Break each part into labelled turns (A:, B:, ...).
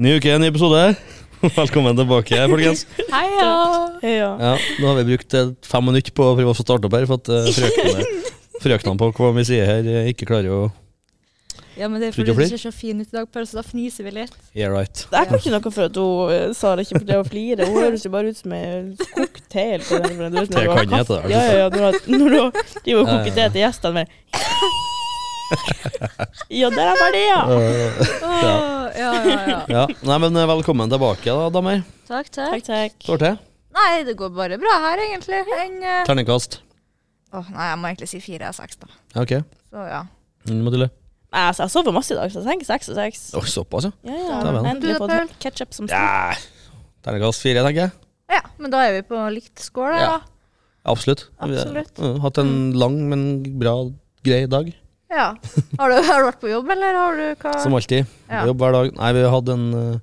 A: Ny uke, ny episode. Velkommen tilbake, folkens.
B: Heia!
C: Ja.
A: Ja, nå har vi brukt eh, fem minutter på å prøve å starte opp her, for at eh, frøknene, frøknene på hva vi sier her, eh, ikke klarer å
B: Ja, men det er
A: Tror
B: fordi
A: du
B: du
A: det
B: ser så fin ut i dag, Per, så da fniser vi litt.
A: Yeah, right.
C: Jeg kan ikke noe for at hun, eh, Sara ikke får til å flire. Hun høres jo bare ut som en kokt te. eller noe
A: Te
C: sånt. Du vet, når du har
A: kan jeg altså. hete
C: kaffe-
A: det,
C: Ja, ja, ja, når du har- når du driver og
A: Ja, ja,
C: koker
A: ja.
C: te til gjestene med Ja, der er ferdig, ja!
A: Eh,
B: ja. ja, ja,
A: ja. Nei, men eh, velkommen tilbake, da, damer.
B: Takk, takk.
C: Takk, takk.
A: Står til.
B: Nei, det går bare bra her, egentlig. En, eh,
A: Terningkast.
B: åh, nei, jeg må egentlig si fire av seks, da.
A: Ja, OK.
B: Så ja.
A: Mm, Mathilde.
C: Nei, altså, jeg sover masse i dag, så jeg tenker seks og seks.
A: Å, såpass, ja.
C: Ja,
A: Ta
C: ja.
A: vel.
B: Du da,
C: Endelig
B: Paul?
C: fått ketsjup som smak.
A: ja. Terningkast fire, tenker jeg.
B: ja. Men da er vi på likt skål, da.
A: Ja. Absolutt. Vi har,
B: Absolutt. Mm.
A: eh, hatt en lang, men bra, grei dag.
B: Ja. Har, du, har du vært på jobb, eller har du hva
A: Som alltid.
B: Ja.
A: Jobb hver dag. Nei, vi hadde en eh,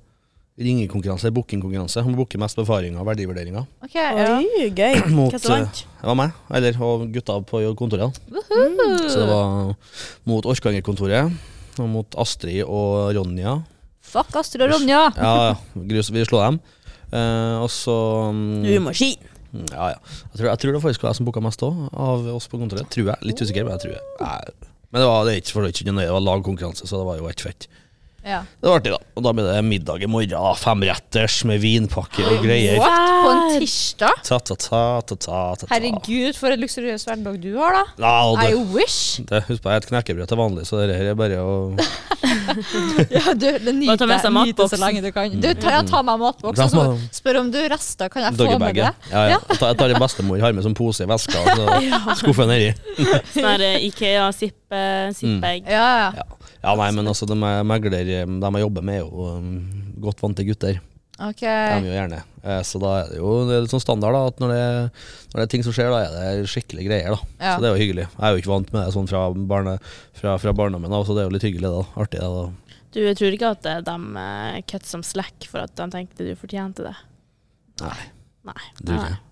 A: ringekonkurranse, bookingkonkurranse. Han booker mest befaringer og verdivurderinger.
B: OK, ja.
C: Oi, gøy.
A: Mot,
C: Hva som vant?
A: Det var meg, eller og gutta på kontoret. da. Så det var mot Orkanger-kontoret, og mot Astrid og Ronja.
B: Fuck Astrid og Ronja!
A: Ja, ja, grus- vi slår dem. Eh, og så mm,
C: Du er maskin.
A: Ja, ja. Jeg tror, jeg tror det faktisk var jeg som booka mest òg, av oss på kontoret. Tror jeg. Litt usikker, men jeg tror jeg. Nei. Men det var, det er ikke, for det er ikke noe nøye, det var lagkonkurranse, så det var jo ikke fett.
B: Ja.
A: Det var artig, da. Og da blir det middag i morgen. da. Femretters med vinpakke og greier.
B: What? På en tirsdag?
A: Ta-ta-ta-ta-ta-ta.
B: Herregud, for en luksuriøs hverdag du har, da.
A: Ja, og
B: I
A: det,
B: wish!
A: det, husk på, jeg er et knekkebrød til vanlig, så det her er bare å
B: Ja, du, det nyter
C: ta med seg
B: nyter
C: matboksen.
B: så lenge du kan. Du, ta, ja, ta meg matboks,
A: Ta
B: og så
A: Mm. med-
B: spør om du rester. Kan jeg få med
A: Doggybaget.
B: det?
A: Ja, ja. Jeg tar- Jeg tar det bestemor har med som pose i veska. og Så skuffen nedi.
C: Sånn her eh, Ikea,
A: Mm.
C: Zippe, Zippegg.
B: Ja, ja.
A: Ja. ja, nei, men altså, de er megler, de jeg jobber med, er jo um, godt vant til gutter.
B: Ok.
A: De er jo gjerne. Eh, Så da er det jo det er litt sånn standard da, at når det, når det er ting som skjer, da er det skikkelig greier. da.
B: Ja.
A: Så det er jo hyggelig. Jeg er jo ikke vant med det sånn fra, barne, fra, fra barndommen av, så det er jo litt hyggelig. da. Artig. det da.
C: Du, jeg tror ikke at eh, de eh, cut som slack for at de tenkte du fortjente det.
A: Nei,
C: Nei.
A: det tror ikke jeg.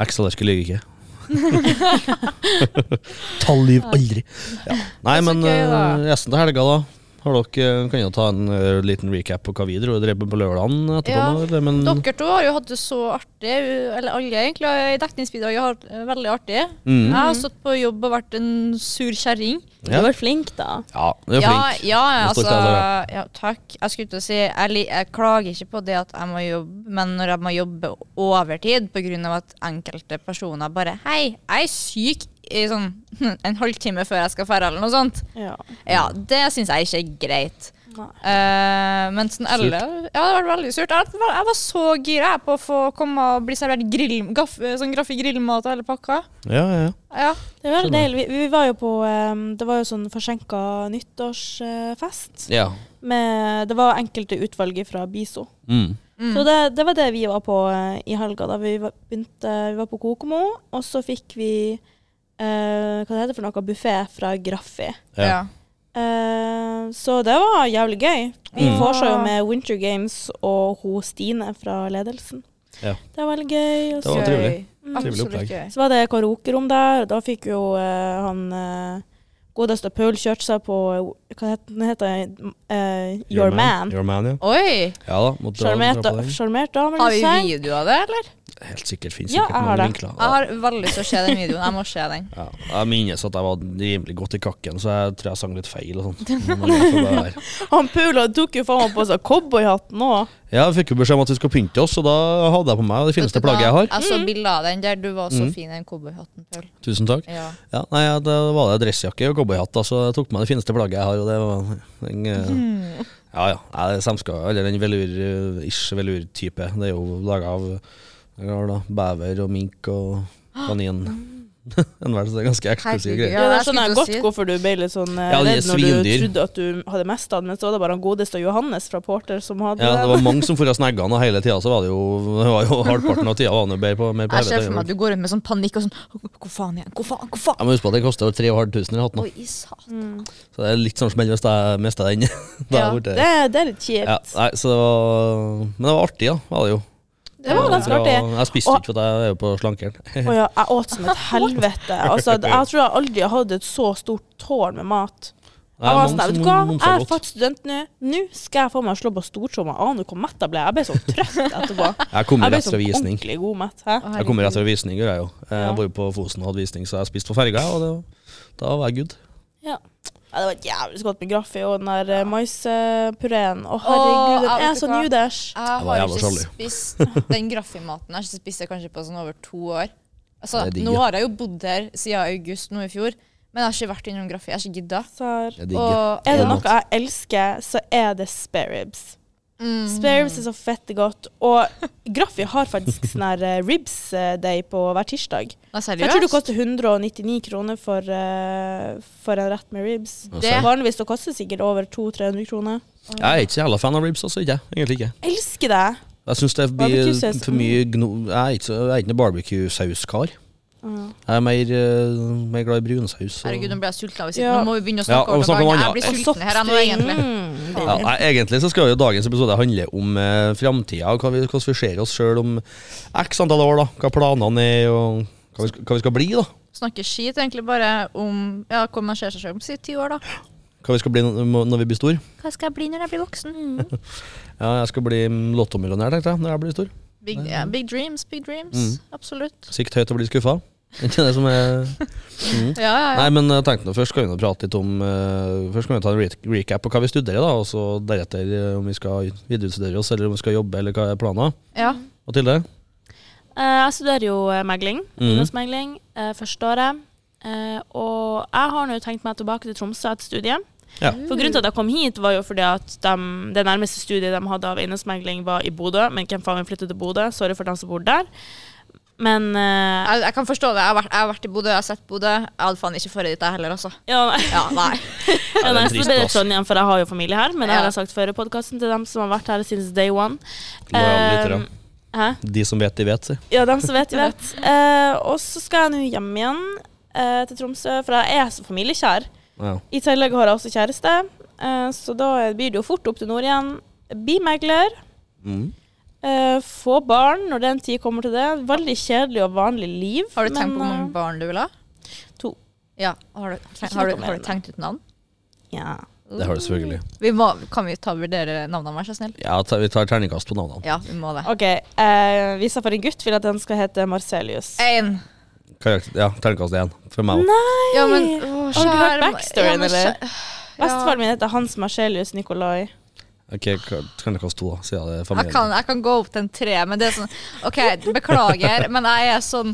A: Excel-arket lyver ikke. Tall lyver aldri. Ja. Nei,
B: Det er så
A: men
B: gøy, da.
A: eh, resten til helga, da. Har dere, kan jo ta en eh, liten recap på hva vi dro og drev med på lørdagen etterpå.
B: Ja.
A: nå, eller? Men,
B: Dere to har jo hatt det så artig, eller alle egentlig, i dekningsbidraget har hatt det veldig artig.
A: Mm.
B: Jeg har stått på jobb og vært en sur kjerring.
C: Du
A: Ja.
C: har vært flink, da.
A: ja, du er
B: Ja,
A: flink.
B: ja,
A: Nå står
B: altså,
A: ikke jeg
B: ja, takk. Jeg skulle til å si, jeg, li- jeg klager ikke på det at jeg må jobbe, men når jeg må jobbe overtid på grunn av at enkelte personer bare, hei, jeg er syk i sånn en halvtime før jeg skal fære eller noe sånt.
C: Ja.
B: Ja, det synes jeg ikke er greit.
C: Nei.
B: Eh, men sånn
A: Surt.
B: alle Ja, det var veldig surt. Jeg var, jeg var så gira jeg, på å få komme og bli servert grill, gaff, sånn graff i grillmat og hele pakka.
A: Ja, ja, ja.
B: Ja.
C: Det var veldig
A: Skjønner.
C: deilig. Vi, vi var jo på ehm, Det var jo sånn forsinka nyttårsfest.
A: ja.
C: Med, det var enkelte utvalg fra BISO.
A: Mm.
C: Så det, det var det vi var på eh, i helga. da Vi var, begynte, vi var på Kokomo, og så fikk vi eh, Hva det heter for noe? Buffé fra Graffi.
A: Ja.
B: Ja.
C: Eh, så det var jævlig gøy. Vi
A: Mm.
C: foreslår jo med Winter Games og hun Stine fra ledelsen.
A: Ja.
C: Det var veldig gøy. Og
A: Det var
C: så,
A: trivelig.
B: Gøy.
C: Mm.
A: Trivelig
B: Absolutt
A: opplegg.
B: gøy.
C: så var det karaokerom der, og da fikk jo eh, han eh, godeste Paul kjørt seg på eh, Hva het- den heter den? Your, Man.
A: Your man, ja.
B: Oi!
A: ja da, måtte dra-
C: Sjarmert
A: dra på den.
C: sjarmert dame,
B: Har vi
C: liksom.
B: video av det, eller?
A: Helt sikkert finnes
C: Ja,
A: sikkert
C: jeg har
A: mange
C: det.
A: vinkler.
B: Jeg har veldig lyst til å se den videoen. Jeg må se den.
A: Ja, jeg minnes at jeg var rimelig godt i kakken, så jeg tror jeg sang litt feil og sånt. Men jeg får bare være.
C: Han Paul han tok jo faen meg på seg cowboyhatten òg.
A: Ja, jeg fikk jo beskjed om at vi skal pynte oss, og da hadde jeg på meg det fineste
B: Vet du hva?
A: plagget jeg har.
B: Jeg så bilder av den der. Du var så fin i den cowboyhatten, Paul.
A: Tusen takk.
B: Ja.
A: Ja, nei, ja, det var det dressjakke og cowboyhatt, da, så jeg tok på meg det fineste plagget jeg har, og det var den
B: Mm.
A: eh, Ja ja, nei, det er samska, eller den velur-ish velur-type. Det er jo laga av hva var det da, bever og mink og kanin. En verden, så det er ganske eksklusiv greie.
B: Ja,
C: Ja, det sånn
B: jeg skulle
C: skjønner jeg
B: til å
C: godt
B: si.
C: hvorfor du ble litt sånn eh,
A: Ja, de er
C: redd når du
A: svindyr.
C: trodde at du hadde mista den, men så var det bare han godeste Johannes fra Porter som hadde
A: Ja, det
C: den.
A: var mange som for å snegge han, og hele tida så var det jo, det var jo halvparten av tida var han jo bedre på. Mer på
B: Jeg ser
A: helvete.
B: for meg at du går rundt med sånn panikk og sånn Hvor faen igjen? Hvor faen? Hvor
A: Jeg
B: faen?
A: må huske på at den koster 3500 i hatten,
B: Oi, satan.
A: da. så det er litt sånn smell hvis jeg mister den. da
B: Ja,
A: er jeg borte.
C: Det, det er litt kjipt.
A: Ja, nei, så det var, men det var artig, da. Var det jo.
C: Det var ganske
A: bra.
C: artig.
A: Jeg spiste
C: Og-
A: ikke, for jeg er jo på slankeren.
C: Å ja, jeg åt som et helvete. Altså, jeg tror jeg aldri har hatt et så stort tårn med mat. Jeg var sånn,
A: mange
C: «Nei, vet
A: som
C: du hva, jeg
A: momser
C: er
A: godt.
C: faktisk student nå. Nå skal jeg få meg slå på stortromma. Aner du hvor mett jeg ble? Jeg ble så trøtt etterpå.
A: Jeg kommer
C: Jeg ble
A: rett
C: så
A: fra visning.
C: ordentlig god mett. Hæ?
A: Jeg kommer rett fra visning, gjør jeg jo. Jeg var jo på Fosen og hadde visning, så jeg spiste på ferga, og det, da var jeg good.
C: Ja. ja, det var jævlig godt med graffi og den der eh, maispureen. Å,
B: jeg
C: herregud, den
B: vet
C: er
B: du
C: så
B: hva.
C: nuders.
B: Jeg
A: var
B: har
A: jævla
B: ikke
A: sjalu.
B: spist den graffimaten her, så jeg spiste kanskje på sånn over to år. Altså,
A: Det er digg,
B: nå
A: ja.
B: har jeg jo bodd her siden august nå i fjor, men jeg har ikke vært innom graffi. Jeg har ikke gidda.
C: Sar.
A: Jeg digger.
B: Og
C: Er det
A: Ja.
C: noe jeg elsker, så er det spareribs.
B: mm,
C: Spareribs er så fette godt. Og Graffi har faktisk sånn her eh, ribs eh, day på hver tirsdag.
B: Nei,
C: Jeg tror
B: seriøst?
C: det koster 199 kroner for, eh, for en rett med ribs.
B: Det
C: Vanligvis det koster sikkert over 200-300 kroner.
A: Jeg er ikke så jævla fan av ribs, altså. Ikke jeg. Egentlig ikke.
C: Elsker det!
A: Jeg syns det blir
C: Barbecue-saus.
A: for mye gno... Jeg er ikke, så- jeg er ikke noen barbecue-sauskar. Jeg er mer, eh, mer glad i brunsaus. og-
B: Herregud, nå ble jeg sulten av å sitte.
C: Ja.
B: Nå må vi begynne å
A: Ja,
B: snakke
A: og snakke om
B: barn.
A: annet.
B: Jeg blir
C: Og
B: sulten her jeg nå,
C: soppstring.
B: egentlig.
C: Mm,
A: Ja,
C: deilig.
A: nei, egentlig så skal jo dagens episode handle om eh, framtida, og hva vi, hvordan vi ser oss sjøl om x antall år. da, Hva planene er, og hva vi, skal- hva vi skal bli. da.
B: Snakker skit egentlig bare om ja, hvor man ser seg selv om si ti år, da.
A: Hva vi skal bli når når vi blir stor.
B: Hva skal jeg bli når jeg blir voksen?
A: Ja, Jeg skal bli lottomillionær tenkte jeg, når jeg blir stor.
B: Big, ja, big dreams, big dreams. Absolutt.
A: Sikt høyt og bli skuffa. Ikke det som er Mm.
B: Ja, ja, ja.
A: Nei, men jeg tenkte nå, først skal vi nå prate litt om eh, Først skal vi ta en re recap på hva vi studerer, da, og så deretter eh, om vi skal viderestudere oss, eller om vi skal jobbe, eller hva er planen.
B: ja.
A: Mathilde?
C: Eh, jeg studerer jo eh, megling,
A: Mhm.
C: eiendomsmegling, eh, førsteåret. Eh, og jeg har nå tenkt meg tilbake til Tromsø etter studiet.
A: Ja.
C: For grunnen til at jeg kom hit, var jo fordi at dem- det nærmeste studiet de hadde av eiendomsmegling, var i Bodø. Men hvem faen vil flytte til Bodø? Sorry for dem som bor der. Men eh,
B: Jeg, jeg kan forstå det. Jeg har vært, jeg har vært i Bodø, jeg har sett Bodø. Jeg hadde faen ikke forrige ditt, jeg heller, altså.
C: ja, nei.
B: Ja, nei.
A: Ja, det er
C: Ja, nei, sånn.
A: en
C: så
A: trist
C: det ble
A: plass.
C: Trondheim, for jeg har jo familie her. Men det har
B: Ja.
C: jeg sagt før i podkasten til dem som har vært her siden day one.
A: Lojale lyttere.
C: Eh, hæ?
A: De som vet, de vet, si.
C: Ja, dem som vet, de vet. Eh, og så skal jeg nå hjem igjen eh, til Tromsø, for jeg er så familiekjær.
A: Ja.
C: I tillegg har jeg også kjæreste, eh, så da blir det jo fort opp til nord igjen. Bli megler.
A: Mm.
C: eh, få barn når den tid kommer til det. Veldig kjedelig og vanlig liv.
B: Har du tenkt på hvor
C: men,
B: mange barn du vil ha?
C: to.
B: Ja. Har du,
C: Ikke
B: har
C: noe
B: du,
C: mer
B: har
C: enn
B: du tenkt ut navn?
C: eh, Ja.
A: Det har du selvfølgelig.
B: Vi må, kan vi ta og vurdere navnene, vær så snill?
A: Ja, ta, vi tar terningkast på navnene.
B: Ja, vi må det.
C: OK. Eh, hvis jeg får en gutt, vil jeg at den skal hete Marcelius.
B: Én.
A: Karakter, ja, terningkast én for meg òg.
C: Nei!
B: Ja, men å,
C: Har du hørt
B: skjær- ja,
C: backstoryen,
B: men skjær-
C: eller? Bestefaren min heter Hans Marcelius Nikolai.
A: Ok, ka- terningkast to, da, siden det er
B: Jeg kan,
A: familien.
B: jeg kan gå opp til en tre, men det er sånn OK, beklager, men jeg er sånn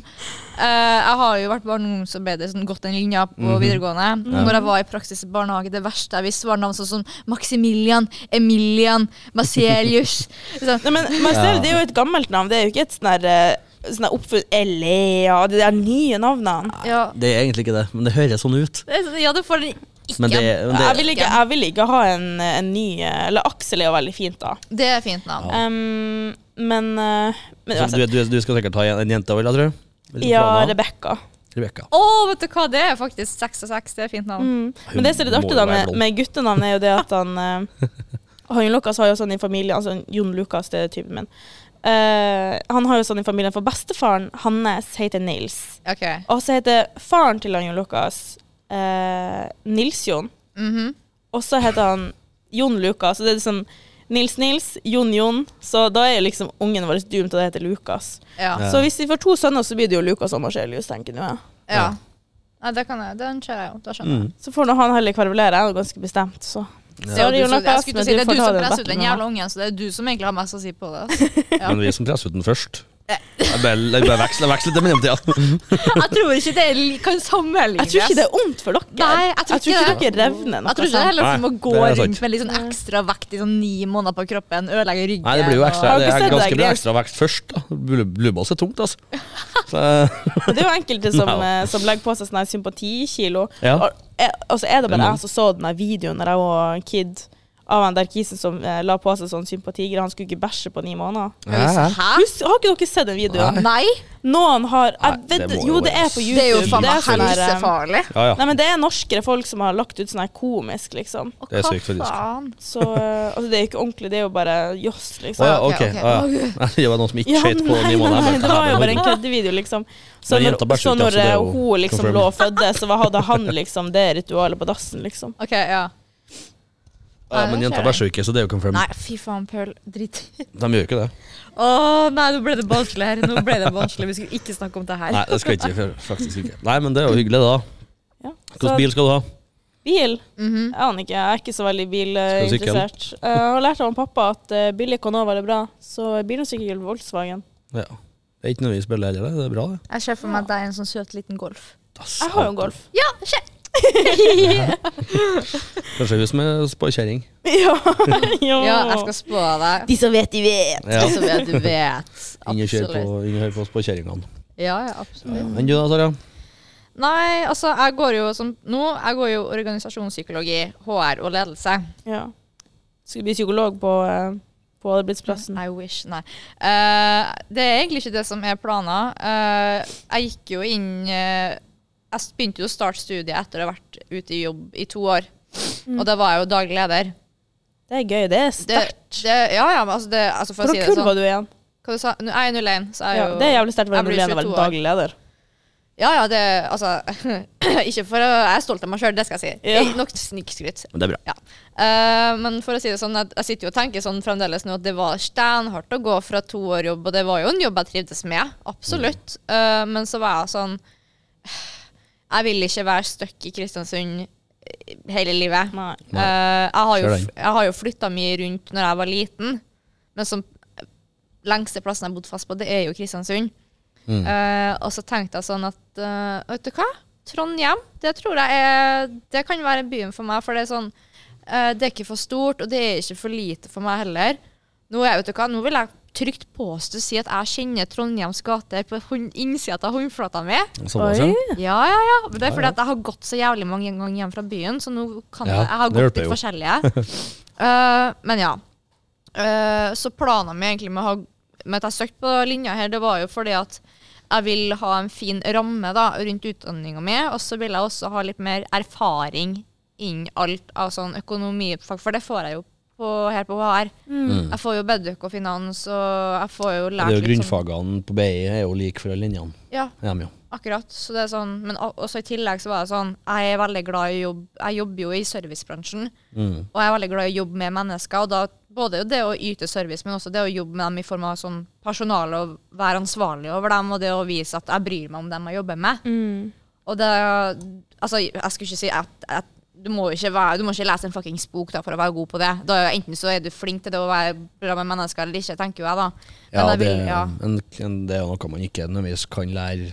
B: eh, Jeg har jo vært barne- og ungdomsarbeider, sånn, gått den linja på videregående. Når jeg var i praksis i barnehage, det verste jeg visste, var navn sånn som Maximilian, Emilian, Marcelius sånn.
C: Nei, men Marcel, det er jo et gammelt navn. Det er jo ikke et sånn her eh, sånn her oppfunnet Elea, de der nye navnene.
B: Ja,
A: Det er egentlig ikke det, men det høres sånn ut.
B: det, er sånn- ja, du får den ikke.
A: Men det, men
C: Jeg
A: det
C: vil ikke, jeg vil ikke ha en, en ny eh, Eller Aksel er jo veldig fint, da.
B: Det er fint navn.
C: Um, men eh, Men
A: så du,
C: uansett.
A: du, du skal sikkert ta en, en jente òg, tror jeg? Vil du
C: Ja,
A: ha planer?
C: Rebekka.
A: Rebekka.
B: Å, vet du hva, det er faktisk seks og seks. Det er fint navn.
C: Mm. Men det som er litt
A: Hun må
C: artig
A: jo
C: da
A: være
C: med,
A: blond.
C: med guttenavn, er jo det at han eh, Han Lukas har jo sånn i familien altså Jon Lukas, det er typen min. Eh, han har jo sånn i familien, for bestefaren hans heter Nils.
B: Ok.
C: Og så heter faren til han Jon Lukas eh, Nils Jon.
B: Mhm.
C: Og så heter han Jon Lukas. Så det er liksom Nils Nils, Jon Jon. Så da er jo liksom ungen vår doomed til å hete Lukas.
B: Ja.
A: Ja.
C: Så hvis vi får to sønner, så blir det jo Lukas og Marcelius, tenker nå jeg.
B: ja. Nei, det kan jeg. Den kjører jeg jo. Da skjønner jeg.
A: Mm.
C: Så får nå han heller kverulere, jeg er jo ganske bestemt, så.
B: Så
C: Sorry,
B: du som-
C: Jonas,
B: jeg skulle til å si,
C: men
B: det
C: du
B: er du
C: får ta
B: som presser
C: den
B: ut
C: debatten
B: den
C: med
B: jævla ungen, så det er du som egentlig har mest å si på det. altså. Ja.
A: Men vi som presser ut den først. Jeg bare, jeg bare veksler, veksler litt i mellomtida.
B: Jeg tror ikke det li- kan
C: Jeg
B: sammenlignes.
C: tror ikke det er ondt for dere.
B: Nei, jeg tror ikke det.
C: dere revner noe
B: Jeg tror ikke det
C: sånt.
B: heller at du må
A: Nei,
B: gå
A: det er sant.
B: rundt med litt sånn ekstra vekt i sånn ni måneder på kroppen, ødelegge ryggen.
A: Nei, det blir jo ekstra,
B: og-
C: Har
A: det
C: dere
A: er
C: sett
A: ganske
C: deg,
A: bra
C: Grace?
A: ekstra vekst først. da. Blue- Blueballs er tungt, altså. Så,
C: Men Det er jo enkelte som,
A: Nei.
C: eh, som legger på seg sånn her sympatikilo.
A: Ja.
C: Og, eh, altså, er, og så er det
A: Det er
C: bare
A: mange.
C: jeg som så den der videoen da jeg var kid av han der kisen som eh, la på seg sånn sympatigre. Han skulle ikke bæsje på ni måneder.
A: Ja.
B: Hæ?
C: Husk, har ikke dere sett den videoen?
B: Nei,
C: Noen har jeg
A: Nei,
C: vet,
A: det må
C: Jo,
A: jo
C: det
A: være-
C: er på YouTube.
B: det er jo faen meg
C: sånn her, eh,
B: helsefarlig.
A: Ja, ja.
C: Nei, men det er norskere folk som har lagt ut sånn her komisk, liksom.
B: Og
A: Det er
B: hva
A: sykt, faktisk.
B: faen?
C: Så eh, altså, det er jo ikke ordentlig, det er jo bare joss, liksom.
A: Å ja,
B: ok,
A: ok. Å,
B: ok.
A: ja. Nei, Det var noen som ikke skøyt på
C: nei,
A: ni
C: nei,
A: måneder.
C: nei, det var jo bare en
A: Herregud.
C: køddevideo, liksom.
A: Men
C: Så når,
A: jenta bæsjer
C: så
A: ikke,
C: når
A: altså, det er
C: eh,
A: jo
C: hun liksom
A: confirmed.
C: lå og fødte, så var- hadde han liksom det ritualet på dassen, liksom.
B: OK, ja.
A: Ja, men jenta bæsjer jo ikke, så det er jo
B: Nei,
A: confirmed.
B: fy faen, pøl. Dritt.
A: De gjør jo ikke det.
B: Å nei, nå ble det vanskelig her. Nå ble det vanskelig. Vi skulle ikke snakke om det her.
A: Nei, det skal vi ikke gjøre. Faktisk ikke. Nei, men det er jo hyggelig, da.
C: Ja.
A: Hvilken
C: Så
A: bil skal du ha?
C: bil
B: Mhm.
C: Jeg aner ikke, jeg er ikke så veldig
A: Skal du sykle?
C: bilinteressert. Uh, jeg har lært av han pappa at uh, billig Conova er bra, så bilen sykler Volkswagen.
A: Ja. Det er ikke noe vi spiller heller, det. Det er bra, det.
B: Jeg ser for meg deg i en sånn søt liten Golf.
A: Das,
C: Jeg har jo en Golf.
B: Ja, se!
A: Kanskje hun som er spåkjerring.
C: Ja, ja.
B: Ja, jeg skal spå deg.
C: De som vet, de vet.
A: Ja.
B: Så vet du vet.
A: Ingen kjører
B: Absolutt.
A: på, ingen hører på spåkjerringene.
B: Ja, ja, absolutt.
A: Enn du da, Sara?
B: Nei, altså, jeg går jo som nå, jeg går jo organisasjonspsykologi, HR og ledelse.
C: Ja. Skulle bli psykolog på, eh, på arbeidsplassen.
B: I wish, nei. Eh, det er egentlig ikke det som er planer. Eh, jeg gikk jo inn eh, Jeg s- begynte jo å starte studiet etter å ha vært ute i jobb i to år.
C: Mm.
B: Og da var jeg jo daglig leder.
C: Det er gøy, det er
B: Det,
C: sterkt.
B: det, ja, ja, men altså, det, altså for å
C: Hvor
B: si det
C: kull var
B: sånn.
C: du igjen?
B: Hva du sa Nå er jeg 01, så jeg er
C: Ja,
B: jo
C: det er jævlig sterkt å
B: jeg
C: være
B: blir
C: mulig å
B: 22
C: være
B: år.
C: daglig leder.
B: Ja, ja, det Altså, ikke for å Jeg er stolt av meg sjøl, det skal jeg si.
C: Ja.
B: Ikke Nok snikskryt.
A: Det er bra.
B: Eh, men for å si det sånn, jeg, jeg sitter jo og tenker sånn fremdeles nå at det var steinhardt å gå fra to år jobb, og det var jo en jobb jeg trivdes med, absolutt. Eh, men så var jeg sånn Jeg vil ikke være stuck i Kristiansund eh, hele livet.
C: Nei.
A: Nei.
B: Eh, jeg har jo,
A: Ser den.
B: f- jeg har jo flytta mye rundt når jeg var liten, men som eh, lengste plassen jeg bodde fast på, det er jo Kristiansund.
A: Mm.
B: Eh, og så tenkte jeg sånn at eh, Vet du hva? Trondheim, det tror jeg er Det kan være byen for meg, for det er sånn eh, Det er ikke for stort, og det er ikke for lite for meg heller. Nå, er, vet du hva? Nå vil jeg trygt påstå si at jeg kjenner Trondheims gater på hånd- innsida av håndflata mi.
A: Såpass, ja. sånn
C: Oi.
B: Ja, ja, ja. Men Det
A: Ja,
B: er fordi
A: ja.
B: at jeg har gått så jævlig mange ganger hjem fra byen, så nå kan
A: Ja,
B: jeg, jeg har
A: det
B: gått
A: hjelper
B: litt
A: jo.
B: forskjellige. Eh, men ja. Eh, så planen min egentlig med, å ha, med at jeg søkte på linja her, det var jo fordi at jeg vil ha en fin ramme da, rundt utdanninga mi, og så vil jeg også ha litt mer erfaring innen alt av sånn økonomifag, for det får jeg jo på, her på HR. Jeg får jo bedøk og finans, og jeg får jo
A: Det er
B: lært
A: jo
B: sånn-
A: grunnfagene på BI er jo like for alle linjene.
B: Ja,
A: Ja, men jo.
B: Akkurat. Så det er sånn, men al- også i tillegg så var det sånn, jeg er veldig glad i jobb, jeg jobber jo i servicebransjen,
A: Mm.
B: og jeg er veldig glad i å jobbe med mennesker, og da både det å yte service, men også det å jobbe med dem i form av sånn personale, og være ansvarlig over dem, og det å vise at jeg bryr meg om dem jeg jobber med.
C: Mm.
B: Og det, altså, jeg skulle ikke si at, at du må ikke, være, du må ikke lese en fuckings bok da, for å være god på det. Da, er jo enten så er du flink til det å være bra med mennesker, eller ikke, tenker jo jeg da. Men
A: Ja,
B: jeg
A: det,
B: vil- ja.
A: en, en, det er jo noe man ikke nødvendigvis kan lære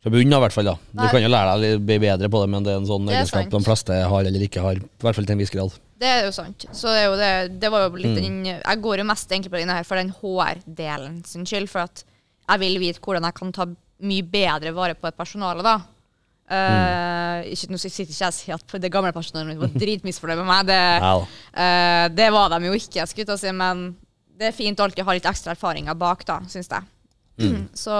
A: fra bunnen av, i hvert fall. da. Du
B: Nei.
A: kan jo lære deg å bli bedre på det, men det er en sånn
B: Det er
A: egenskap
B: sant.
A: de fleste har eller ikke har. I hvert fall til en viss grad.
B: Det er jo sant. Så det, er jo det, det var jo litt den Jeg går jo mest egentlig på denne her for den HR-delen sin skyld, for at jeg vil vite hvordan jeg kan ta mye bedre vare på et personale, da. Eh, ikke, nå sitter ikke jeg og sier at det gamle personalet mitt var dritmisfornøyd med meg. Det,
A: Ja da.
B: eh, det var de jo ikke, skulle jeg til å si, men det er fint å alltid ha litt ekstra erfaringer bak, da, syns jeg. Så